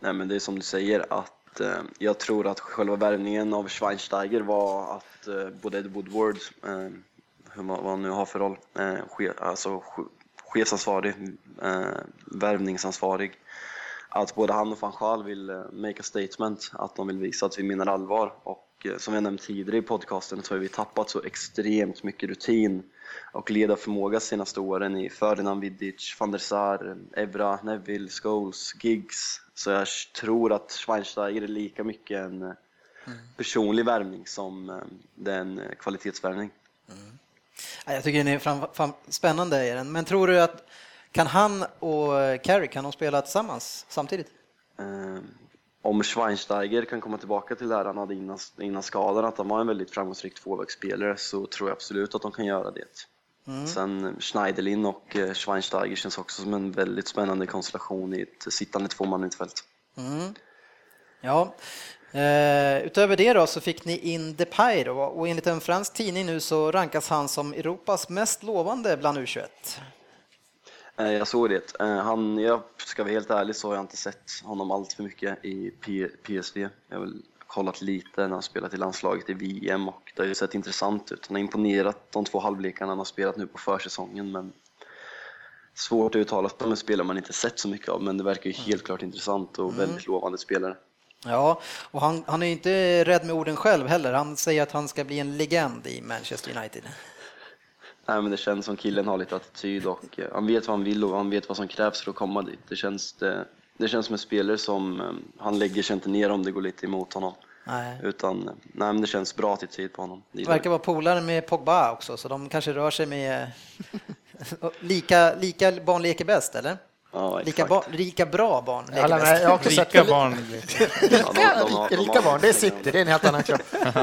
Nej men det är som du säger att eh, jag tror att själva värvningen av Schweinsteiger var att eh, både Ed Woodward, eh, hur man, vad han nu har för roll, eh, che, alltså che, chefsansvarig, eh, värvningsansvarig, att både han och van Schaal vill eh, make a statement, att de vill visa att vi menar allvar. Och eh, som jag nämnt tidigare i podcasten så har vi tappat så extremt mycket rutin och ledarförmåga senaste åren i Ferdinand Vidic, van der Sar, Evra, Neville, Scholes, Giggs. Så jag tror att Schweinsteiger är lika mycket en eh, personlig värvning som eh, det är en eh, kvalitetsvärvning.
Ja, Jag tycker den är fram, fram, spännande, är den. men tror du att kan han och eh, Carrick, kan de spela tillsammans samtidigt?
Eh, om Schweinsteiger kan komma tillbaka till det här han hade innan, innan skadan, att han var en väldigt framgångsrik tvåvägsspelare, så tror jag absolut att de kan göra det. Sen eh, Schneiderlin och eh, Schweinsteiger känns också som en väldigt spännande konstellation i ett sittande tvåmannainterfält.
Ja. Eh, utöver det då så fick ni in Depay då, och enligt en fransk tidning nu så rankas han som Europas mest lovande bland U21.
Eh, Jag såg det. Eh, Han, jag ska vara helt ärlig så har jag inte sett honom allt för mycket i P- PSV. Jag har väl kollat lite när han spelat i landslaget i VM och det har ju sett intressant ut. Han har imponerat de två halvlekarna han har spelat nu på försäsongen men svårt att uttala sig om en spelare man inte sett så mycket av men det verkar ju helt klart intressant och väldigt lovande spelare.
Ja, och han, han är ju inte rädd med orden själv heller. Han säger att han ska bli en legend i Manchester United.
Nej, men det känns som killen har lite attityd och eh, han vet vad han vill och han vet vad som krävs för att komma dit. Det känns, det, det känns som en spelare som eh, han lägger sig inte ner om det går lite emot honom.
Nej.
Utan, eh, nej men det känns bra attityd på honom. Det
Det
gillar
verkar vara polare med Pogba också, så de kanske rör sig med lika, lika barn leker bäst, eller?
jag. Ja,
Lika,
exakt.
ba, rika bra barn. lägger
Alla
mest.
med, jag har också sett
Rika
väldigt,
barn.
Ja, de- de har- de har-
rika, rika barn, det är city, det är en helt annan kropp.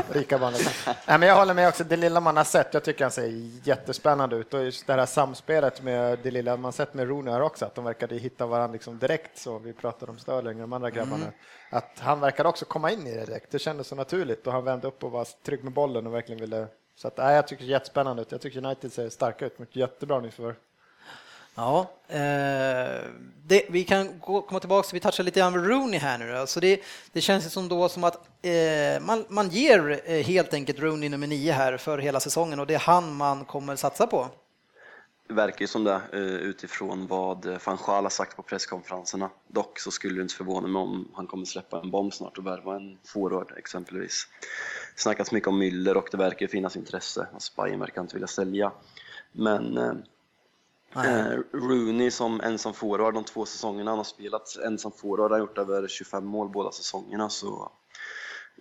Rika barn. liksom. Nej, men jag håller med också, det lilla man har sett, jag tycker han ser jättespännande ut och just det här samspelet med det lilla man sett med Rooney här också, att de verkade hitta varandra liksom direkt så, vi pratade om Sterling och de andra grabbarna,
Mm.
att han verkade också komma in i det direkt, det kändes så naturligt och han vände upp och var trygg med bollen och verkligen ville så att, nej, jag tycker det är jättespännande ut. Jag tycker United ser starka ut, men jättebra nyförvärv.
Ja, eh, det, vi kan gå, komma tillbaka, vi touchar lite grann vid Rooney här nu. Alltså det, det känns ju som då som att eh, man, man ger eh, helt enkelt Rooney nummer nio här för hela säsongen och det är han man kommer satsa på.
Det verkar ju som det eh, utifrån vad van Schaal har sagt på presskonferenserna. Dock så skulle det inte förvåna mig om han kommer släppa en bomb snart och värva en forward exempelvis. Det snackas mycket om Müller och det verkar ju finnas intresse. Alltså Bayern verkar inte vilja sälja. Men eh, eh, Rooney som ensam forward de två säsongerna han har spelat ensam forward, han har gjort över 25 mål båda säsongerna. Så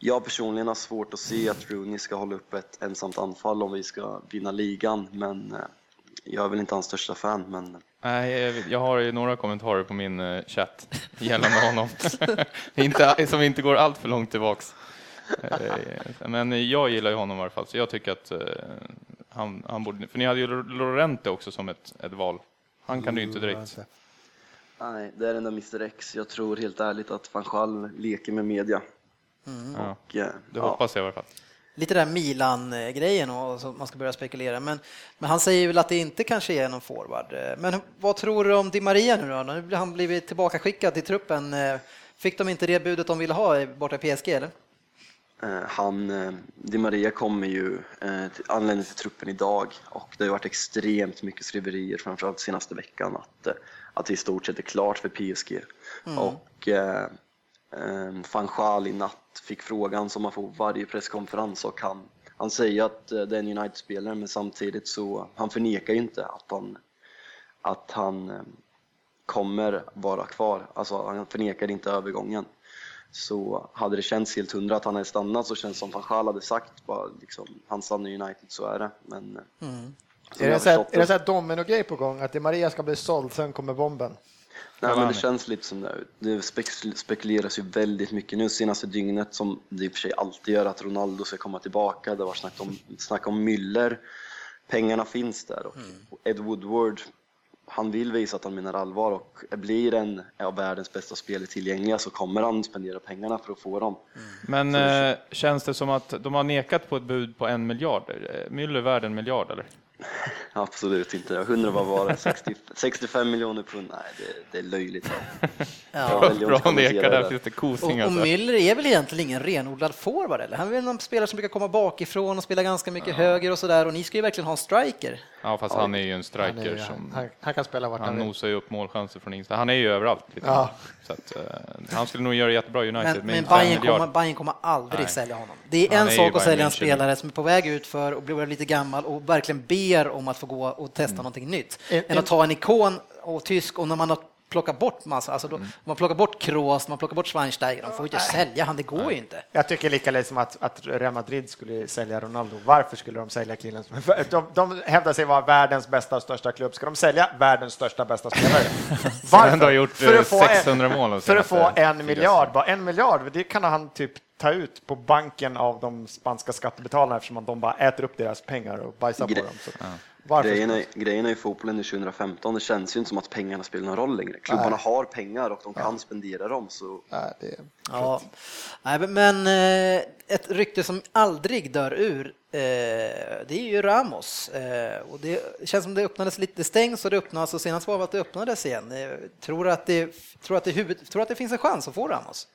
jag personligen har svårt att se att Rooney ska hålla upp ett ensamt anfall om vi ska vinna ligan, men eh, jag är väl inte hans största fan. Men eh,
Nej, jag- jag har ju några kommentarer på min eh, chatt gällande honom, inte, som inte går allt för långt tillbaks. Eh, Men jag gillar ju honom i alla fall, så jag tycker att eh, han, han borde... För ni hade ju Lorente också som ett, ett val. Han kan du ju inte direkt...
nej, det är den där Mr X. Jag tror helt ärligt att van Schaal leker med media.
Ja,
Och, eh,
det
ja,
hoppas jag i alla fall.
Lite där Milan-grejen och så man ska börja spekulera. Men, men han säger väl att det inte kanske är någon forward. Eh, Men vad tror du om Di Maria nu då? Nu blir han blivit tillbakaskickad till truppen. Eh, Fick de inte det budet de ville ha i- borta i PSG eller?
Eh, Han, eh, Di Maria kommer ju, eh, till- anländer till truppen idag och det har ju varit extremt mycket skriverier framförallt senaste veckan att, eh, att det i stort sett är klart för PSG. Och eh, eh, van Schaal i natt fick frågan som man får på varje presskonferens och han, han säger att eh, det är en United-spelare men samtidigt så han förnekar ju inte att han, att han eh, kommer vara kvar. Alltså han förnekar inte övergången så hade det känts helt hundra att han hade stannat så känns det som van Schaal hade sagt bara liksom, han stannar i United så är det. Men som
Mm. Är
jag
det
har
så här,
förstått
är det så här domino-grej på gång? Att det Maria ska bli såld, sen kommer bomben?
Nej, men
Cavani?
det känns lite som det. Det spek- spekuleras ju väldigt mycket nu senaste dygnet som det i och för sig alltid gör att Ronaldo ska komma tillbaka. Det var snack om, snack om Müller. Pengarna finns där och Ed Woodward han vill visa att han menar allvar och blir en av världens bästa spelare tillgängliga så kommer han spendera pengarna för att få dem.
Men eh, känns det som att de har nekat på ett bud på en miljard? Eh, Müller värd en miljard, eller?
Absolut inte. Jag undrar vad var det? 60, 65 miljoner pund? Nej, det, det är löjligt. Jag
Bra
väljer att
att
kommentera
neka
det
där,
där.
finns det
Och, och
kosing alltså.
Müller är väl egentligen ingen renodlad forward eller? Han är väl en spelare som brukar komma bakifrån och spela ganska mycket höger och sådär och ni ska ju verkligen ha en striker.
Ja, fast han är ju en
Han, är
striker
ju-
som...
Eh, han, han kan spela vart han
Han
vill.
nosar ju upp målchanser från insta. Han är ju överallt. Liksom.
Ja.
Så att, eh, han skulle nog göra jättebra i United.
Men,
med
men
inte en
Bayern,
miljard.
kommer, Bayern kommer aldrig
Nej.
sälja honom. Det är en
Han är ju
sak att
Bayern
sälja en
München.
spelare som är på väg ut för och blir lite gammal och verkligen ber om att få gå och testa
Mm.
någonting nytt.
En-
Än att ta en ikon och tysk och när man har plockat bort massa, alltså då,
Mm.
man plockar bort Kroos, man plockar bort Schweinsteiger, de får ju inte sälja han, det går ju inte.
Jag tycker lika lite som att, att Real Madrid skulle sälja Ronaldo. Varför skulle de sälja killen? som- De, de hävdar sig vara världens bästa och största klubb. Ska de sälja världens största och bästa spelare? Varför?
ändå har gjort, eh, 600 mål de
en, För att
senaste
få en
tio
miljard. Bara en miljard, det kan han typ ta ut på banken av de spanska skattebetalarna eftersom de bara äter upp deras pengar och bajsar på
Gre-
dem. Så. Varför?
Grejen
skulle-
är, grejen är i fotbollen i 2015, det känns ju inte som att pengarna spelar någon roll längre. Klubbarna har pengar och de kan spendera dem. Så
Nej, det-
Ja. Nej, men- men eh, ett rykte som aldrig dör ur, eh, det är ju Ramos. Eh, och det känns som det öppnades lite, det stängs och det öppnas och senast var det att det öppnades igen. Eh, tror att det, tror att det, huvud, tror att det finns en chans att få Ramos?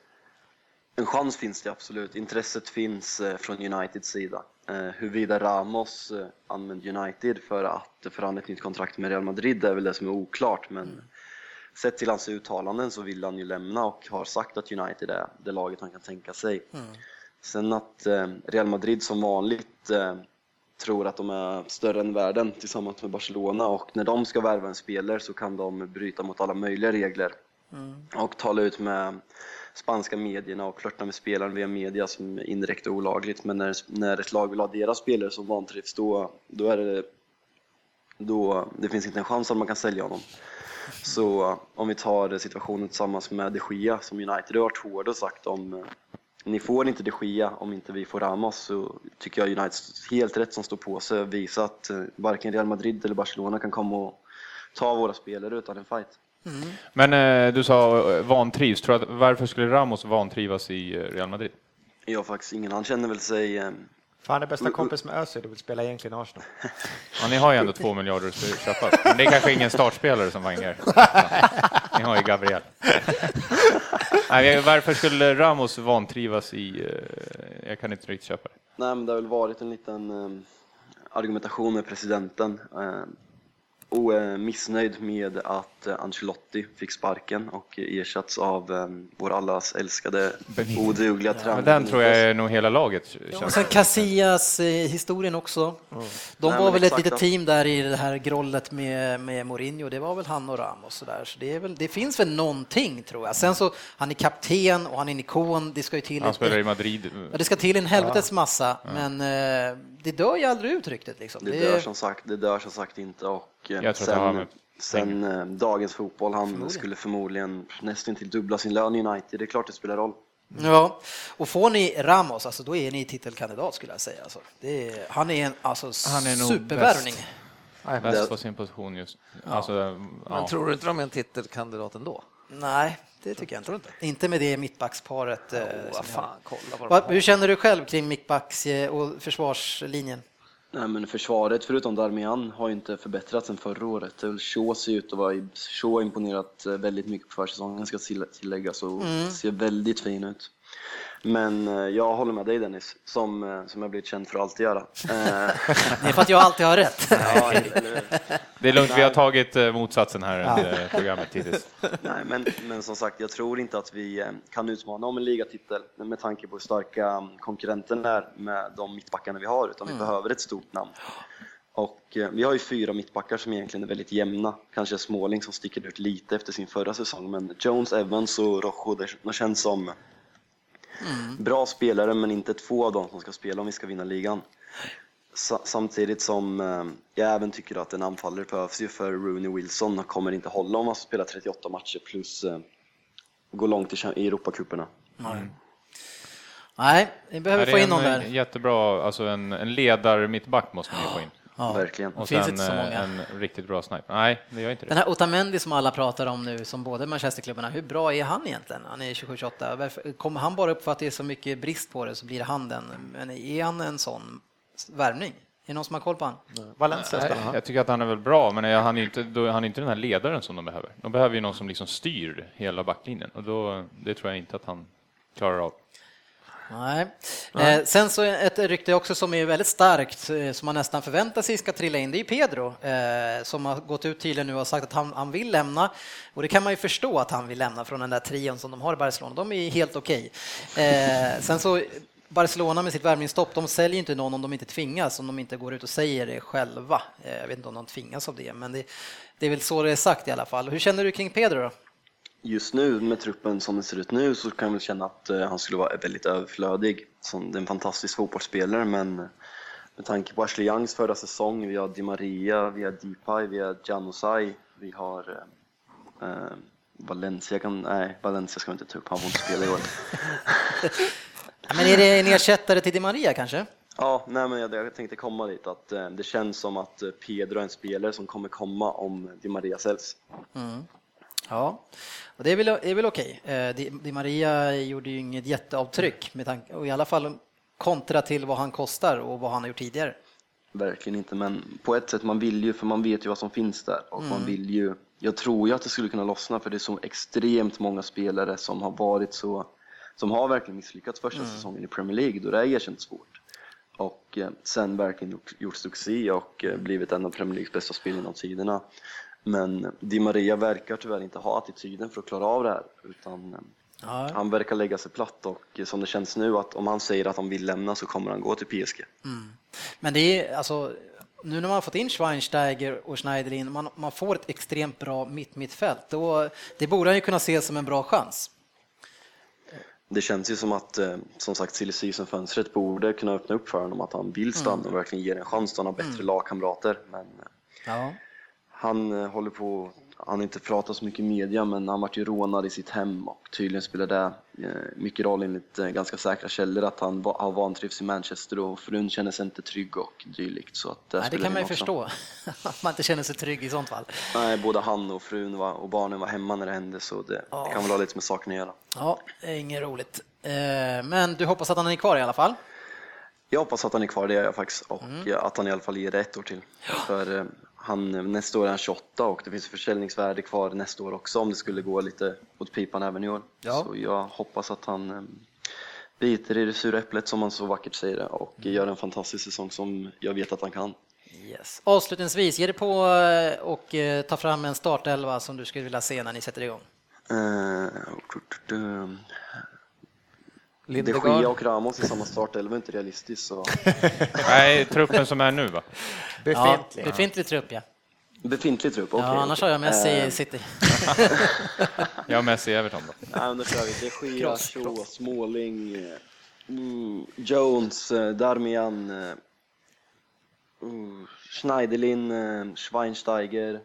En chans finns det absolut. Intresset finns eh, från Uniteds sida. Eh, Huruvida Ramos eh, använt United för att förhandla ett nytt kontrakt med Real Madrid är väl det som är oklart. Men sett till hans uttalanden så vill han ju lämna och har sagt att United är det laget han kan tänka sig. Sen att eh, Real Madrid som vanligt eh, tror att de är större än världen tillsammans med Barcelona och när de ska värva en spelare så kan de bryta mot alla möjliga regler och tala ut med spanska medierna och flörta med spelaren via media som indirekt är olagligt. Men när, när ett lag vill ha deras spelare som vantrivs då, då är det då, det finns inte en chans att man kan sälja honom. Så om vi tar situationen tillsammans med de Gia som United har varit hårda och sagt om eh, ni får inte de Gia om inte vi får Ramos så tycker jag United helt rätt som står på sig och visar att eh, varken Real Madrid eller Barcelona kan komma och ta våra spelare utan en fight.
Men eh, du sa eh, vantrivs. Tror du att, varför skulle Ramos vantrivas i eh, Real Madrid?
Jag har faktiskt ingen, han känner väl sig eh,
För han är bästa kompis med Özil och vill spela egentligen i Arsenal.
Ja, ni har ju ändå två miljarder att köpa. Men det är kanske ingen startspelare som Wenger. Ni har ju Gabriel. Nej, men varför skulle Ramos vantrivas i... eh, Jag kan inte riktigt köpa det.
Nej, men det har väl varit en liten eh, argumentation med presidenten. Eh, och eh, missnöjd med att eh, Ancelotti fick sparken och ersatts av eh, vår allas älskade odugliga tränare.
Men den tror jag är nog hela laget.
Och
känns
sen Casillas-historien också. De
Nej,
var
men
väl ett
exakt,
litet
ja.
team där i det här grollet med, med Mourinho. Det var väl han och Ramos och där. Så det, är väl, det finns väl någonting tror jag. Sen så, han är kapten och han är en ikon. Det ska ju till
Han
lite-
spelar i Madrid. eh,
Ja, det ska till en helvetes massa, men eh, det dör ju aldrig ut ryktet. Liksom.
Det
Det-
dör som sagt, det dör som sagt inte och eh,
Jag tror att det har
sen,
med
sen eh, dagens fotboll, han skulle förmodligen nästan till dubbla sin lön i United. Det är klart det spelar roll.
Ja, och får ni Ramos, alltså, då är ni titelkandidat skulle jag säga. Alltså. Det är, han är en alltså,
Han är nog
supervärvning.
bäst.
Nej, men
Bäst på sin position just. Alltså,
Men
ja.
tror du inte de är en titelkandidat ändå?
Nej, det tycker jag inte. Inte med det mittbacksparet. eh, som
Vad
jag-
fan, kolla vad de
Va,
har.
hur känner du själv kring mittbacks eh, och försvarslinjen?
Nej, men försvaret, förutom Darmian, har ju inte förbättrats sen förra året. Det är väl Shaw ser ut att vara... i- Shaw har imponerat eh, väldigt mycket på försäsongen, ska till- tilläggas, och ser väldigt fin ut. Men eh, jag håller med dig Dennis, som, eh, som jag blivit känd för att alltid göra. Eh,
Det är för att jag alltid har rätt.
ja, eller, hur?
Det är lugnt, vi har tagit eh, motsatsen här under programmet hittills.
nej, men, men som sagt, jag tror inte att vi eh, kan utmana om en ligatitel men med tanke på hur starka mm, konkurrenterna är med de mittbackarna vi har, utan vi behöver ett stort namn. Och eh, vi har ju fyra mittbackar som egentligen är väldigt jämna. Kanske Småling som sticker ut lite efter sin förra säsong, men Jones, Evans och Rojo, det- de känns som bra spelare, men inte två av dem som ska spela om vi ska vinna ligan. Sa- Samtidigt som eh, jag även tycker att en anfallare behövs ju för Rooney Wilson kommer inte hålla om han ska spela 38 matcher plus eh, gå långt i cha- i Europacuperna.
Nej, vi behöver
Här
få
är
in någon
en eh,
där.
Jättebra, alltså en, en ledar mittback måste man ju få in.
Verkligen.
Och
finns
sen
inte så
eh,
många.
en riktigt bra sniper. Nej, det gör inte
Den
det.
här Otamendi som alla pratar om nu, som båda Manchesterklubbarna, hur bra är han egentligen? Han är 27-28. Varför- Kommer han bara upp för att det är så mycket brist på det så blir det han den. Men är han en sån värvning? Är det någon som har koll på han?
Valencia spelar han.
Jag tycker att han är väl bra, men är han är ju inte, då är han inte den här ledaren som de behöver. De behöver ju någon som liksom styr hela backlinjen och då, det tror jag inte att han klarar av.
Nej. Eh, sen så ett rykte också som är väldigt starkt, eh, som man nästan förväntar sig ska trilla in, det är ju Pedro eh, som har gått ut tydligen nu och sagt att han, han vill lämna. Och det kan man ju förstå att han vill lämna från den där trion som de har i Barcelona, de är ju helt okej. Eh, sen så Barcelona med sitt värvningsstopp, de säljer ju inte någon om de inte tvingas, om de inte går ut och säger det själva. Eh, jag vet inte om de tvingas av det, men det, det är väl så det är sagt i alla fall. Hur känner du kring Pedro då?
Just nu med truppen som den ser ut nu så kan jag väl känna att eh, han skulle vara väldigt överflödig. Som det är en fantastisk fotbollsspelare men eh, med tanke på Ashley Youngs förra säsong, vi har Di Maria, vi har Depay, vi har Januzaj, vi har eh, eh, Valencia kan, nej Valencia ska vi inte ta upp, han får inte spela i år.
Ja, Men är det en ersättare till Di Maria kanske?
Ja, nej, men jag, jag tänkte komma dit att eh, det känns som att eh, Pedro är en spelare som kommer komma om Di Maria säljs.
Ja, och det är väl, det är väl okej. Eh, Di, Di Maria gjorde ju inget jätteavtryck, med tanke, och i alla fall kontra till vad han kostar och vad han har gjort tidigare.
Verkligen inte, men på ett sätt man vill ju för man vet ju vad som finns där och man vill ju. Jag tror ju att det skulle kunna lossna för det är så extremt många spelare som har varit så som har verkligen misslyckats första säsongen i Premier League då det är erkänt svårt. Och eh, sen verkligen gjort, gjort succé och eh, blivit en av Premier Leagues bästa spelare genom tiderna. Men Di Maria verkar tyvärr inte ha attityden för att klara av det här utan eh, Han verkar lägga sig platt och eh, som det känns nu att om han säger att han vill lämna så kommer han gå till PSG.
Men det är alltså, nu när man har fått in Schweinsteiger och Schneiderlin, man, man får ett extremt bra mitt mittfält. Då, det borde han ju kunna se som en bra chans.
Det känns ju som att eh, som sagt silly season-fönstret borde kunna öppna upp för honom att han vill stanna
Mm.
och verkligen ge det en chans då han har bättre lagkamrater. Men eh,
Ja.
han eh, håller på han inte pratat så mycket i media, men han vart ju rånad i sitt hem och tydligen spelar det eh, mycket roll enligt eh, ganska säkra källor att han va- har vantrivs i Manchester och frun känner sig inte trygg och dylikt. Så att eh,
Nej, det
spelar
kan
in
man ju
också.
förstå, att man inte känner sig trygg i sånt fall.
Nej, både han och frun var, och barnen var hemma när det hände så det kan väl ha lite med saken att göra.
Ja, det är inget roligt. Eh, Men du hoppas att han är kvar i alla fall?
Jag hoppas att han är kvar, det gör jag faktiskt. Och
Mm.
ja, att han i alla fall ger det ett år till. För eh, han, nästa år är han 28 och det finns försäljningsvärde kvar nästa år också om det skulle gå lite åt pipan även i år.
Ja.
Så jag hoppas att han eh, biter i det sura äpplet som man så vackert säger det, och
Mm.
gör en fantastisk säsong som jag vet att han kan.
Yes. Avslutningsvis, ge dig på eh, och eh, ta fram en startelva som du skulle vilja se när ni sätter igång.
Eh, och- och- och- De Gea
Lindegaard.
och Ramos i samma startelva är inte realistiskt. Så.
Nej, truppen som är nu va?
Befintlig.
Ja, befintlig trupp, ja.
Befintlig trupp, okej.
ja annars har jag Messi i City.
Jag har Messi i Everton då.
Nej, men då kör vi. De Gea, Shaw, Småling, eh, mm, Jones, eh, Darmian, eh, uh, Schneiderlin, eh, Schweinsteiger.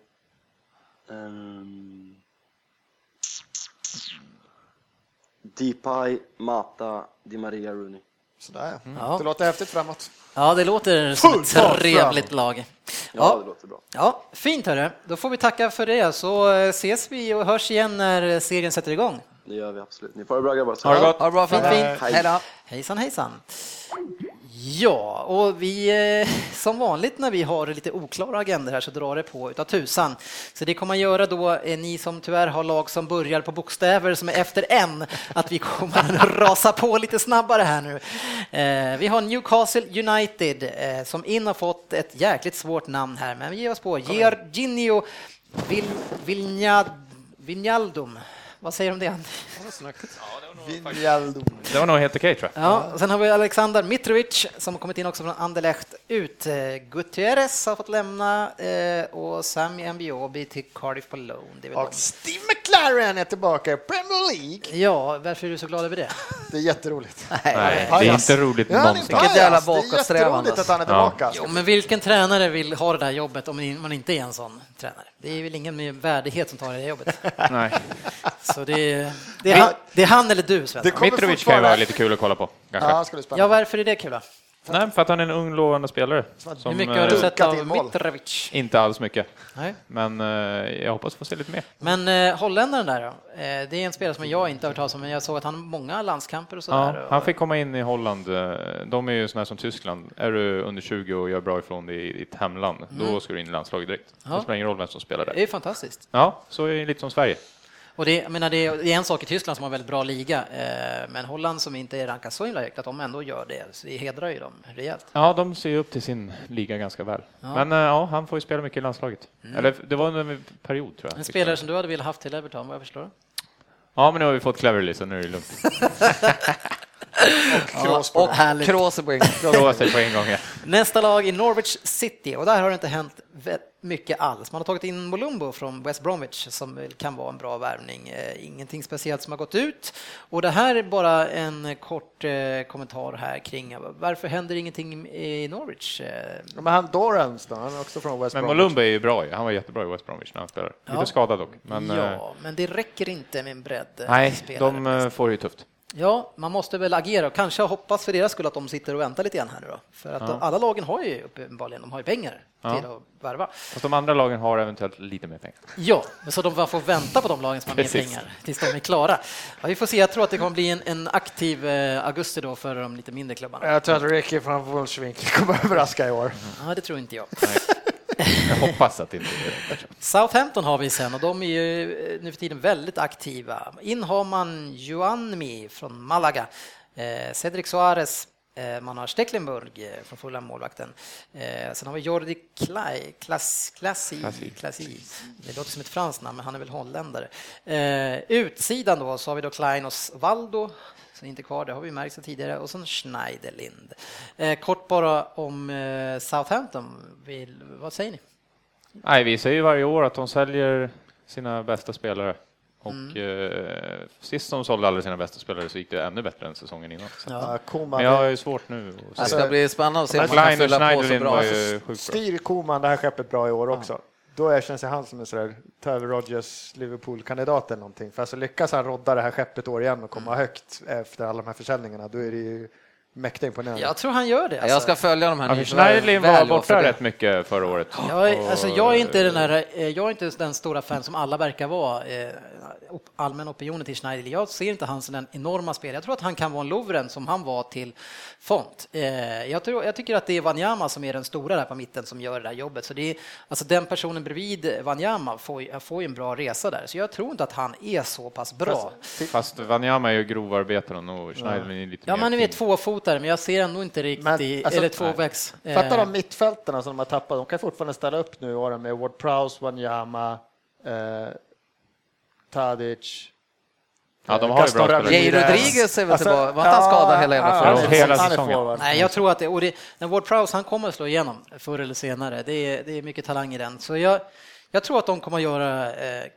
ehm, Depay, Mata, Di Maria, Rooney.
Sådär ja.
Ja.
Det låter häftigt framåt.
Ja, det låter som ett
Full fart
trevligt
framåt.
lag.
Ja,
Ja,
det låter bra.
ja, fint hörru. Då får vi tacka för det, så eh, ses vi och hörs igen när serien sätter igång.
Det gör vi absolut. Ni får ha det bra grabbar.
Ha det gott.
Ha det bra, fint,
Hej.
fint. Hej då.
Hejsan hejsan! Ja, och vi eh, som vanligt när vi har lite oklara agendor här så drar det på utav tusan. Så det kommer man göra då, eh, ni som tyvärr har lag som börjar på bokstäver som är efter en, att vi kommer att rasa på lite snabbare här nu. Eh, Vi har Newcastle United eh, som in har fått ett jäkligt svårt namn här, men vi ger oss på. Jorginho Vil- Vilnad- Vinaldum. Vad säger du om det? Andy?
Vinjaldo.
Det var nog helt okej tror jag.
Ja, och sen har vi Alexander Mitrovic som har kommit in också från Anderlecht ut. Eh, Gutierrez har fått lämna eh, och Sami Mbiobi till Cardiff på loan. Det är väl
Och Steve McLaren är tillbaka i Premier League.
de. Ja, varför är du så glad över det?
Det är jätteroligt.
Nej, det är
Pajas.
inte roligt
Ja, han är
någonsin.
pajas.
Vilket jävla
Det är
bakåtsträvande.
jätteroligt att han är
Ja.
tillbaka.
Jo, men vilken tränare vill ha det där jobbet om man inte är en sån tränare? Det är väl ingen med värdighet som tar det där jobbet.
Nej.
Så det är, det är, han, det är han eller du, Sven.
Det kommer
Mitrovic kan ju vara
fortfarande-
lite kul att kolla på. Kanske.
Ja, skulle
Ja,
spela.
varför är det kul då?
Nej, för att han är en ung lovande spelare.
Hur
Som,
mycket har du
eh,
sett
Dunkat in
av
mål.
Mitrovic?
Inte alls mycket.
Nej.
Men eh, jag hoppas få se lite mer.
Men eh, holländaren där då? Eh, det är en spelare som jag inte har hört talas om, men jag såg att han har många landskamper och sådär.
Ja, han fick komma in i Holland. eh, De är ju såna här som Tyskland. Är du under 20 och gör bra ifrån dig i ditt hemland, då ska du in i landslaget direkt.
Mm. Ja.
Det spelar ingen roll vem som spelar
Det är
där.
ju fantastiskt.
Ja, så är det lite som Sverige.
Och det, jag menar, det är det är en sak i Tyskland som har väldigt bra liga, eh, men Holland som inte är rankat så himla högt, att de ändå gör det, så det hedrar ju dem rejält.
Ja, de ser ju upp till sin liga ganska väl. Men eh, ja, han får ju spela mycket i landslaget. Eller det var under en period tror jag.
Mm. En spelare som du hade velat haft till Everton, vad jag förstår.
Ja, men nu har vi fått Cleverly så nu är det lugnt.
Kroos på
Och
det.
Kroosebring.
Prova sig på en gång. Ja.
Nästa lag i Norwich City, och där har det inte hänt vä- mycket alls. Man har tagit in Molumbo från West Bromwich som väl kan vara en bra värvning. Eh, Ingenting speciellt som har gått ut. Och det här är bara en kort eh, kommentar här kring eh, varför händer ingenting i Norwich? Eh,
Ja, Men han Dorans då, han är också från West
Men
Bromwich.
Molumba är ju bra ju. Han var jättebra i West Bromwich när han spelade. Lite
Ja.
skadad dock. Men, eh,
ja, men det räcker inte med en bredd. eh,
nej,
spelare.
de eh, får det ju tufft.
Ja, man måste väl agera och kanske hoppas för deras skull att de sitter och väntar lite grann här nu då. För att de, alla lagen har ju uppenbarligen, de har ju pengar till
Ja.
att värva.
Fast de andra lagen har eventuellt lite mer pengar.
Ja, men så de bara får vänta på de lagen som har mer
Precis.
pengar tills de är klara. Ja, vi får se, jag tror att det kommer bli en, en aktiv eh, augusti då för de lite mindre klubbarna.
Jag tror att Ricky från Wolfswinkel kommer att överraska i år.
Ja, det tror inte jag.
Jag hoppas att det inte är det.
Southampton har vi sen och de är ju eh, nu för tiden väldigt aktiva. In har man Juanmi från Malaga, eh, Cedric Suarez, eh, man har Stecklenburg eh, från Fulham, målvakten. Eh, sen har vi Jordi Klai, Klas, Klasi, Klasi. Det låter som ett franskt namn, men han är väl holländare. Eh, utsidan då så har vi då Klein och Valdo som inte är kvar, det har vi märkt sedan tidigare, och sen Schneiderlind. Eh, kort bara om eh, Southampton, vill, vad säger ni?
Nej, vi säger ju varje år att de säljer sina bästa spelare. Och
Mm.
eh, sist de sålde alla sina bästa spelare så gick det ännu bättre än säsongen innan. Så.
Ja. Alltså,
Ja. Koman,
Men jag har ju svårt nu
Det
att se.
ska bli spännande att se om man kan
Klein och
fylla på så
Alltså, Schneiderlin
bra. Alltså,
var ju sjukt bra.
styr Koman det här skeppet bra i år också. då erkänns jag han som en sådär, ta över Rodgers Liverpool-kandidat eller någonting. För alltså lyckas han rodda det här skeppet år igen och komma högt efter alla de här försäljningarna, då är det ju mäkta imponerande.
Jag tror han gör det. alltså.
Jag ska följa de här
Ja, för Alltså, Schneiderlin var
väl, och för
borta
det.
rätt mycket förra året.
Jag är,
Och-
alltså, jag, är inte den här, eh, jag är inte den stora fan som alla verkar vara, eh, op- allmän opinionen till Schneider. Jag ser inte han som den enorma spelaren. Jag tror att han kan vara en Lovren som han var till Font. Eh, Jag, tror, jag tycker att det är Wanyama som är den stora där på mitten som gör det där jobbet. Så det är, alltså, den personen bredvid Wanyama får, ju- får ju en bra resa där. Så jag tror inte att han är så pass bra.
Fast Wanyama är ju grovarbetaren och Schneiderlin är lite
Ja,
mer
man är
fin.
tvåfotare, men jag ser ändå inte riktigt,
Men, alltså,
eller tvåvägs. eh,
Fattar de mittfältarna som de har tappat, de kan fortfarande ställa upp nu i år med Ward Prowse, Wanyama, eh, Tadic.
Ja, de
eh,
har ju
Gaston Alltså,
bra spelare.
Jay Rodriguez är väl tillbaka? Var inte han skadad hela jävla
förra året? Hela
han är
säsongen.
forward.
Nej, jag tror att det, och det, när Ward Prowse, han kommer att slå igenom förr eller senare. Det är, det är mycket talang i den. Så jag, jag tror att de kommer att göra, eh, eh,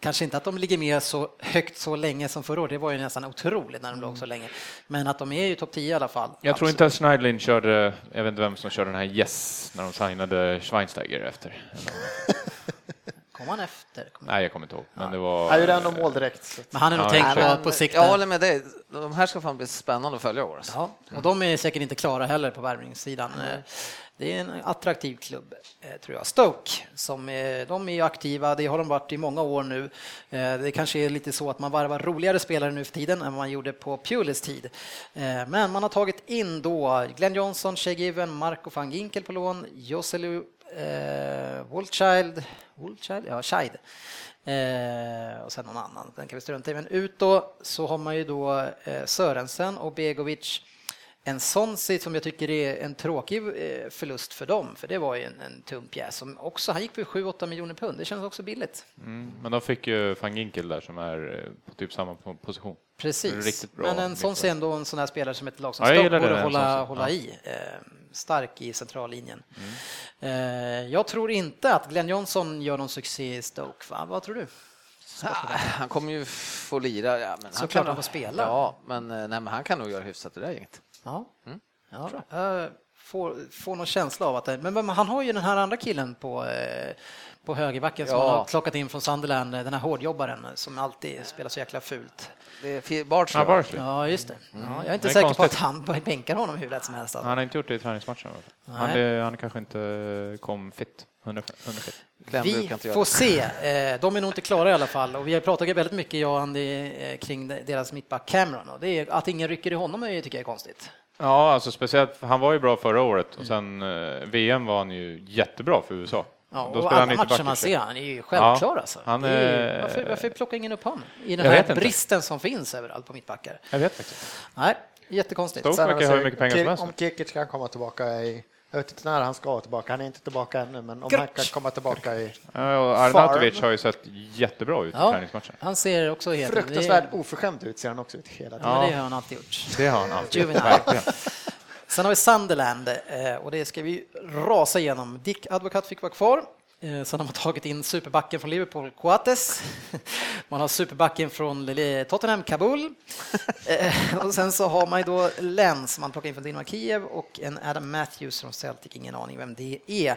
kanske inte att de ligger med så högt så länge som förra året, det var ju nästan otroligt när de låg så länge. Men att de är ju topp 10 i alla fall.
Jag tror inte att Schneiderlin körde, jag vet inte vem som körde den här Yes när de signade Schweinsteiger efter.
Kom han efter? Kom han-
Nej, jag kommer inte ihåg. Men det var...
Han gjorde ändå mål direkt. så att-
Men han är nog
Ja,
tänkt
exakt.
på, på sikt.
Jag
där.
håller med dig. De här ska fan bli spännande att följa i år. alltså.
Ja, och de är säkert inte klara heller på värvningssidan. Eh, Det är en attraktiv klubb, eh, tror jag. Stoke, som eh, de är ju aktiva, det har de varit i många år nu. Eh, Det kanske är lite så att man varvar roligare spelare nu för tiden än man gjorde på Pulis tid. Eh, Men man har tagit in då Glenn Johnson, Shea Given, Marco van Ginkel på lån, Joselu eh, Woolchild, Woolchild, ja, Scheid. Eh, och sen någon annan, den kan vi strunta i. Men ut då så har man ju då eh, Sörensen och Begovic. En sån sit som jag tycker är en tråkig eh, förlust för dem, för det var ju en, en tung pjäs som också, han gick på 7-8 miljoner pund, det känns också billigt.
Mm, men de fick ju van Ginkel där som är eh, på typ samma po- position.
Precis,
Riktigt bra
men en sån
mittfält.
är ändå en sån här spelare som ett lag som
Ja, jag
Stoke
gillar det,
borde
en
hålla,
Sonsi.
hålla
Ja.
i. Eh, stark i centrallinjen.
Mm.
Eh, jag tror inte att Glenn Johnson gör någon succé i Stoke, va? vad tror du?
Ja, han kommer ju få lira. Ja, men
Såklart
kan-
han får spela.
Ja, men, eh, nej, men han kan nog göra hyfsat i det där gänget.
Ja. ja. Jag Mm. Eh, får, får någon känsla av att det, men, men han har ju den här andra killen på, eh, på högerbacken som
Ja.
han har plockat in från Sunderland, eh, den här hårdjobbaren som alltid spelar så jäkla fult.
Det är Fi- Bardsley.
Ja,
va?
Barsley.
Ja, just det. Ja, jag är inte
Det är
säker på att
konstigt.
han bänkar honom hur lätt som helst. alltså.
Han har inte gjort det i träningsmatchen. va? Han,
Nej.
är- han kanske inte kom fit. 100 fit.
Glenn brukar
Vi
inte göra
får
det.
se. Eh, De är nog inte klara i alla fall. Och vi har pratat väldigt mycket, jag och Andy, eh, kring de- deras mittback Cameron. Och det är, att ingen rycker i honom är- tycker jag är konstigt.
Ja, alltså speciellt, för han var ju bra förra året och sen eh, VM var han ju jättebra för USA.
Ja,
Då
och
spelade
alla
inte
matcher man
back i sig.
ser, han är ju självklar
Ja,
alltså.
han
Det är ju,
är-
varför, varför plockar ingen upp honom? I den
Jag vet
här
inte.
bristen som finns överallt på mittbackar.
Jag vet faktiskt.
Nej, jättekonstigt.
Stoke verkar ha hur mycket pengar som
Kir-
helst.
Om Kikic kan komma tillbaka i... Jag vet inte när han ska vara tillbaka, han är inte tillbaka ännu, men om
Grrrk.
han kan komma tillbaka i
Ja, och Arnautovic
Farm.
har ju sett jättebra ut i
Ja,
träningsmatchen.
han ser också helt...
fruktansvärt oförskämd ut ser han också ut hela
Ja,
tiden.
men det har han alltid gjort.
Det har han alltid.
Juvenile.
Verkligen.
Sen har vi Sunderland eh, och det ska vi rasa igenom. Dick Advokat fick vara kvar. Eh, Sen har man tagit in superbacken från Liverpool, Coates. Man har superbacken från Lille- Tottenham, Kabul. Eh, Och sen så har man ju då Lenz, man plockar in från Dinamo Kiev och en Adam Matthews från Celtic, ingen aning vem det är.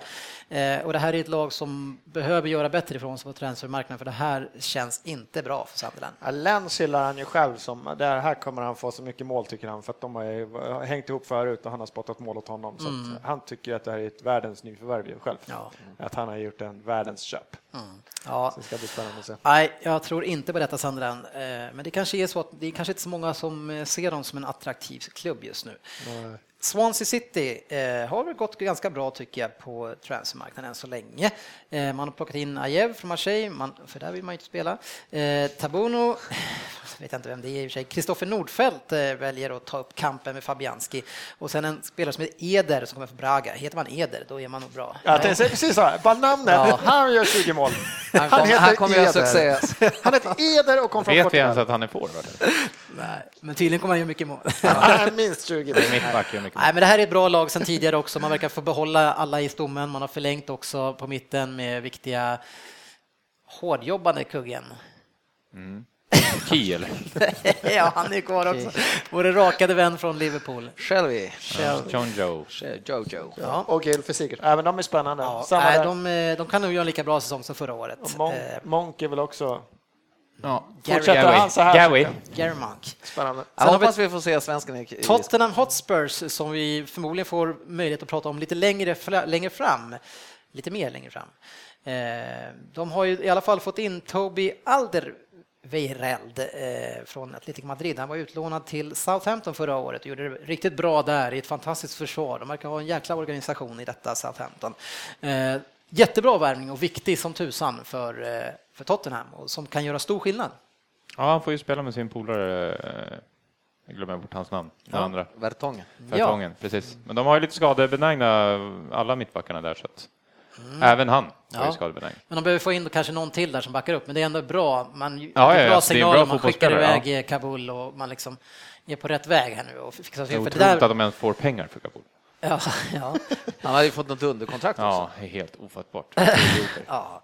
Eh, Och det här är ett lag som behöver göra bättre ifrån sig på transfermarknaden för det här känns inte bra för Sunderland.
Ja, Lenz gillar han ju själv som, där här kommer han få så mycket mål tycker han, för att de har ju hängt ihop förut och han har spottat mål åt honom. Så att han tycker ju att det här är ett världens nyförvärv ju själv.
Ja.
Att han har gjort en världens köp.
Ja,
Så det ska bli spännande att se.
Nej, jag tror inte på detta Sandran. Eh, Men det kanske är så att det är kanske inte så många som eh, ser dem som en attraktiv klubb just nu. Swansea City eh, har väl gått ganska bra tycker jag på transfermarknaden än så länge. Eh, man har plockat in Ajev från Marseille, man, för där vill man ju inte spela. Eh, Tabuno, vet jag inte vem det är i och för sig. Kristoffer Nordfeldt eh, väljer att ta upp kampen med Fabianski. Och sen en spelare som heter Eder som kommer från Braga. Heter man Eder, då är man nog bra.
Jag tänkte säga precis så, här, bara namnet,
Ja.
han gör 20 mål.
Han kommer- han kommer göra succé.
Han heter Eder och kom från
Vet vi ens
Portugal.
att han är forward?
Nej, men tydligen kommer han göra mycket mål.
Han är minst 20.
Mittback är mycket
Nej, men det här är ett bra lag sedan tidigare också. Man verkar få behålla alla i stommen. Man har förlängt också på mitten med viktiga hårdjobbande kuggen.
Kiel.
ja, han är kvar också. Vår rakade vän från Liverpool.
Shelby.
Shell.
John Joe.
Jojo.
Ja.
Och Gylfi Sigurd. Ja, men de är spännande.
Ja,
Samma
nej,
där.
de, eh, de kan nog göra en lika bra säsong som förra året.
Och Monk,
Eh,
Monk är väl också
Ja.
Fortsätter han så här?
Gary.
Gary Monk.
spännande.
Jag
Sen har vi-
hoppas vi får se svensken i, i
Tottenham Hotspurs som vi förmodligen får möjlighet att prata om lite längre, fla- längre fram. Lite mer längre fram. Eh, De har ju i alla fall fått in Toby Alderweireld eh, från Atletico Madrid. Han var utlånad till Southampton förra året och gjorde det riktigt bra där i ett fantastiskt försvar. De verkar ha en jäkla organisation i detta Southampton. Eh, Jättebra värvning och viktig som tusan för, eh, för Tottenham och som kan göra stor skillnad.
Ja, han får ju spela med sin polare. eh, Jag glömmer bort hans namn. Den andra.
Vertongen.
Vertongen, precis. Men de har ju lite skadebenägna, alla mittbackarna där. Så att Även han var
Ja.
ju skadebenägen.
Men de behöver få in då kanske någon till där som backar upp, men det är ändå bra. Man, det
ja,
är en
ja,
bra
alltså, det är en
signal
bra
om man skickar
fotbollsspelare,
iväg eh, Kabul och man liksom är på rätt väg här nu och fixar
Det är
sig. För det
otroligt
där,
att de ens får pengar för Kabul.
ja, ja,
Han hade ju fått något underkontrakt också.
Ja, det är helt ofattbart.
ja.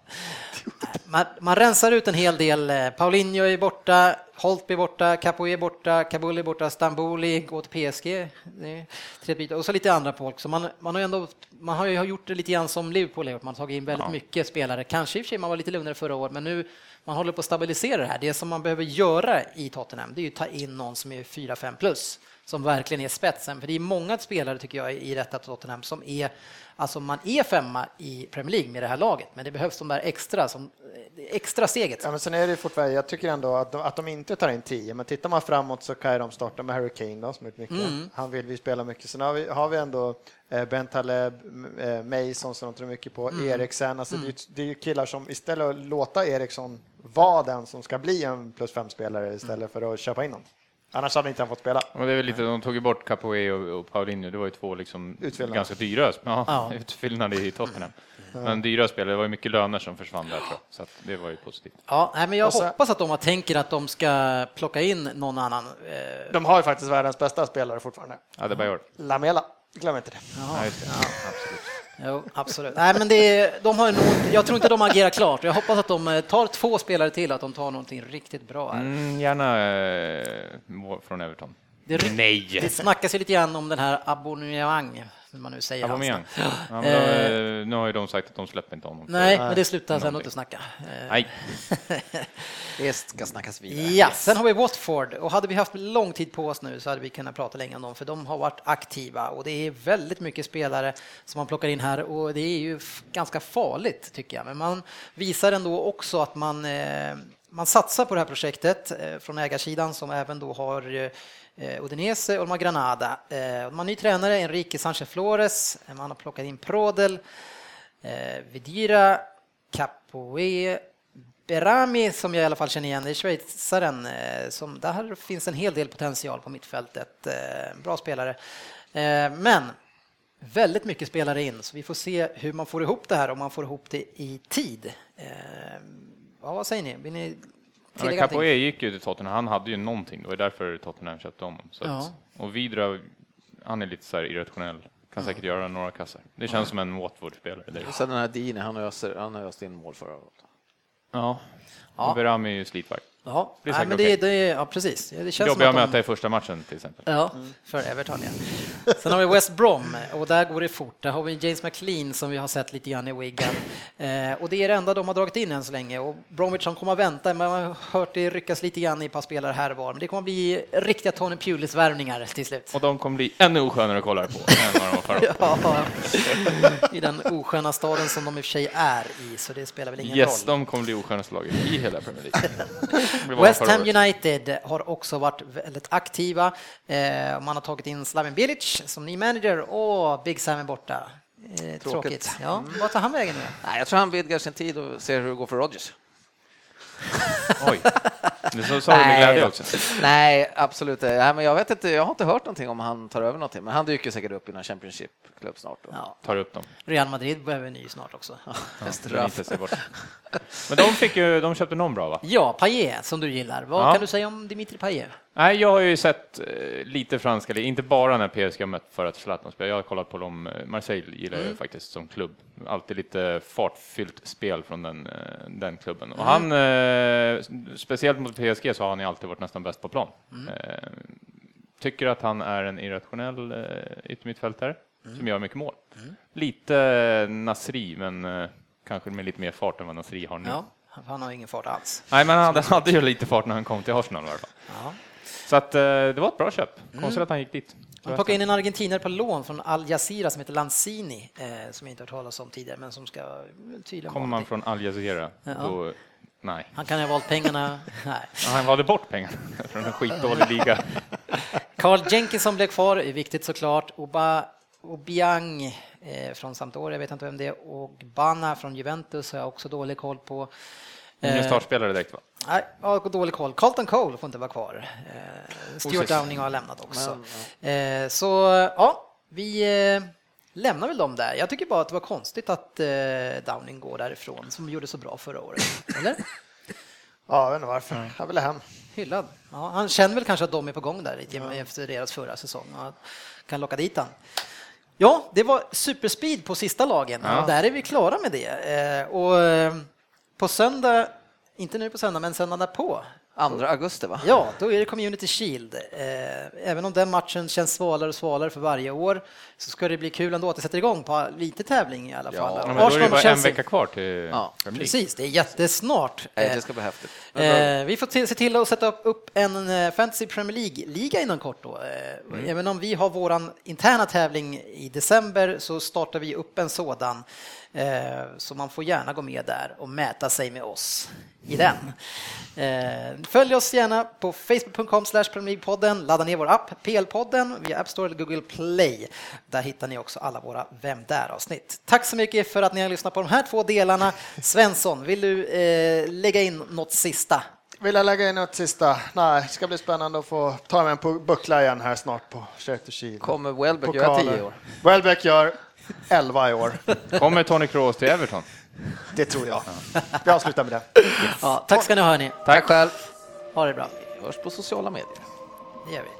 Man, man rensar ut en hel del. eh, Paulinho är borta, Holtby är borta, Capoe är borta, Kabul är borta, Stamboli går till PSG. Det är tre byten. Och så lite andra folk. Så man, man, har ju ändå, man har ju gjort det lite grann som Liverpool har gjort. Man har tagit in väldigt mycket spelare. Kanske i och för sig man var lite lugnare förra året, men nu man håller på att stabilisera det här. Det som man behöver göra i Tottenham, det är ju ta in någon som är 4-5 plus, som verkligen är spetsen. För det är många spelare, tycker jag, i detta Tottenham som är, alltså man är femma i Premier League med det här laget, men det behövs de där extra, som, det extra steget.
Ja, men sen är det ju fortfarande, jag tycker ändå att de, att de inte tar in 10, men tittar man framåt så kan ju de starta med Harry Kane då, som är mycket. Han vill vi spela mycket. Sen har vi, har vi ändå eh, Ben Taleb, m- eh, Mason som de tror mycket på, Eriksen. Alltså, det, är ju- det är ju killar som istället för att låta Eriksson vara den som ska bli en plus fem spelare istället för att köpa in honom. Annars hade inte han fått spela.
Men det är väl lite, de tog ju bort Capoe och, och Paulinho, det var ju två liksom
Utfyllnad.
ganska dyra sp- ja,
Ja.
utfyllnader i Tottenham. Men dyra spelare, det var ju mycket löner som försvann där tror jag, så att det var ju positivt.
Ja, nej, men jag
Och så-
hoppas att de tänker att de ska plocka in någon annan. eh,
De har ju faktiskt världens bästa spelare fortfarande.
Ja, det var
Lamela, glöm inte det.
ja, just det. Absolut.
Jo, absolut. Nej, men det är, de har nog, jag tror inte de agerar klart. Jag hoppas att de eh, tar två spelare till, att de tar någonting riktigt bra. Här.
Mm, gärna eh, mål från Everton.
Det, är rikt- det
Nej!
snackas ju lite grann om den här Aubameyang, hur man nu säger hans
Aubameyang.
namn.
Ja, men då, eh, nu har ju de sagt att de släpper inte honom.
Nej, men det slutar han sen
Någonting.
inte snacka. Eh,
Nej.
Det ska snackas vidare.
Ja, sen har vi Watford och hade vi haft lång tid på oss nu så hade vi kunnat prata länge om dem för de har varit aktiva och det är väldigt mycket spelare som man plockar in här och det är ju f- ganska farligt tycker jag. Men man visar ändå också att man, eh, man satsar på det här projektet eh, från ägarsidan som även då har eh, eh, Udinese och de har Granada. Eh, De har ny tränare, Enrique Sanchez Flores, Eh, man har plockat in Prodel, eh, Vidira, Capoe, Berami som jag i alla fall känner igen, det är schweizaren. eh, Som, där finns en hel del potential på mittfältet. eh, Bra spelare. Eh, Men väldigt mycket spelare in, så vi får se hur man får ihop det här, om man får ihop det i tid. Eh, Ja, vad säger ni? Vill ni
Ja, men
tillägga någonting?
Capoe gick ju till Tottenham, han hade ju någonting, det var ju därför Tottenham köpte honom. Så att, och Vidra, han är lite så här irrationell, kan säkert göra några kassar. Det känns som en Watford-spelare. Det är-
Och sen den här Dini, han öser, han öste in mål förra året.
Ja,
Ja.
och Berami är ju slitvarg.
Ja,
blir
nej,
säkert
men det,
okej.
det, ja precis. Ja, Det känns som att
Jobbiga att
de-
möta i första matchen till exempel.
Ja, för Everton ja. Sen har vi West Brom och där går det fort. Där har vi James McLean som vi har sett lite grann i Wigan. Eh, och det är det enda de har dragit in än så länge. Och Bromwich som kommer att vänta, men man har hört det ryckas lite grann i ett par spelare här och var. Men det kommer att bli riktiga Tony Pulis-värvningar till slut.
Och de kommer bli ännu oskönare att kolla på än vad de var förra året.
Ja, I den osköna staden som de i och för sig är i, så det spelar väl ingen
Yes,
roll.
de kommer bli oskönaste laget i hela Premier League. Det blir bara
West
förra
Ham
året.
United har också varit väldigt aktiva. Eh, och man har tagit in Slaven Bilic som ny manager och Big Sam är borta. Eh, tråkigt. Ja,
Mm.
Vad tar han vägen nu?
Nej, jag tror han vidgar sin tid och ser hur det går för Rodgers.
Oj, det så sa du med glädje också.
Nej, absolut inte. Nej, men jag vet inte, jag har inte hört någonting om han tar över någonting, men han dyker säkert upp i någon Championship-klubb snart. Då.
Ja,
Tar upp dem.
Real Madrid behöver en ny snart också.
Ja, förlitar sig bort. Men de, fick ju, de köpte någon bra va?
Ja, Payet som du gillar. Vad
Ja.
kan du säga om Dimitri Payet?
Nej, jag har ju sett eh, lite franska ligan, inte bara när PSG har mött för att Zlatan spelar. Jag har kollat på dem. eh, Marseille gillar jag faktiskt som klubb. Alltid lite fartfyllt spel från den, eh, den klubben. Och han eh, eh, speciellt mot PSG så har han ju alltid varit nästan bäst på plan. Eh, tycker att han är en irrationell eh, yttermittfältare som gör mycket mål. Lite eh, Nasri, men eh, kanske med lite mer fart än vad Nasri har nu.
Ja, han har ingen fart alls.
Nej, men han hade, hade ju lite fart när han kom till Arsenal i alla fall.
Ja.
Så att, eh, det var ett bra köp. Konstigt att han gick dit.
Man plockar in en argentinare på lån från Al Jazeera som heter Lanzini, eh, som jag inte har hört talas om tidigare, men som ska eh, tydligen
Kommer
vara
man
någonting.
från Al Jazeera,
Ja.
då, nej.
Han kan ju ha valt pengarna. Nej.
Ja, Han valde bort pengarna från en skitdålig liga.
Carl Jenkinson blev kvar, är viktigt såklart. Oba, Obiang eh, från Sampdoria, jag vet inte vem det är, och Bana från Juventus har jag också dålig koll på. Eh,
Ingen startspelare direkt va?
Nej, jag har dålig koll. Carlton Cole får inte vara kvar. Eh, Stuart
Osäkert.
Downing har lämnat också. Eh, så ja, vi eh, lämnar väl dem där. Jag tycker bara att det var konstigt att eh, Downing går därifrån, som gjorde så bra förra året. Eller?
Ja, jag vet inte varför. Jag ville hem.
Hyllad. Ja, han känner väl kanske att de är på gång där i- efter deras förra säsong och att- kan locka dit han. Ja, det var superspeed på sista lagen och där är vi klara med det. Eh, Och eh, på söndag, inte nu på söndag, men söndag därpå,
2 augusti va?
Ja, då är det Community Shield. Eh, även om den matchen känns svalare och svalare för varje år så ska det bli kul ändå att det sätter igång på lite tävling i alla fall.
Ja, men då är det ju bara en
Chelsea.
vecka kvar till ja, Premier League.
Precis, det är jättesnart.
Nej, det ska bli häftigt.
Eh, vi får till, se till att sätta upp, upp en eh, Fantasy Premier League-liga inom kort då. Eh, Även om vi har våran interna tävling i december så startar vi upp en sådan. Eh, så man får gärna gå med där och mäta sig med oss i den. Eh, följ oss gärna på facebook.com podden Ladda ner vår app PL-podden via App Store eller Google Play. Där hittar ni också alla våra Vem Där-avsnitt. Tack så mycket för att ni har lyssnat på de här två delarna. Svensson, vill du eh, lägga in något sista?
Vill jag lägga in något sista? Nej, det ska bli spännande att få ta med en pu- buckla igen här snart på Sheffield Shield.
Kommer Welbeck göra 10
Pokaler.
år?
Welbeck gör 11 i år.
Kommer Tony Kroos till Everton?
Det tror jag. Vi avslutar med det.
Ja, tack ska ni ha hörni.
Tack själv.
Ha det bra.
Hörs på sociala medier.
Det gör vi.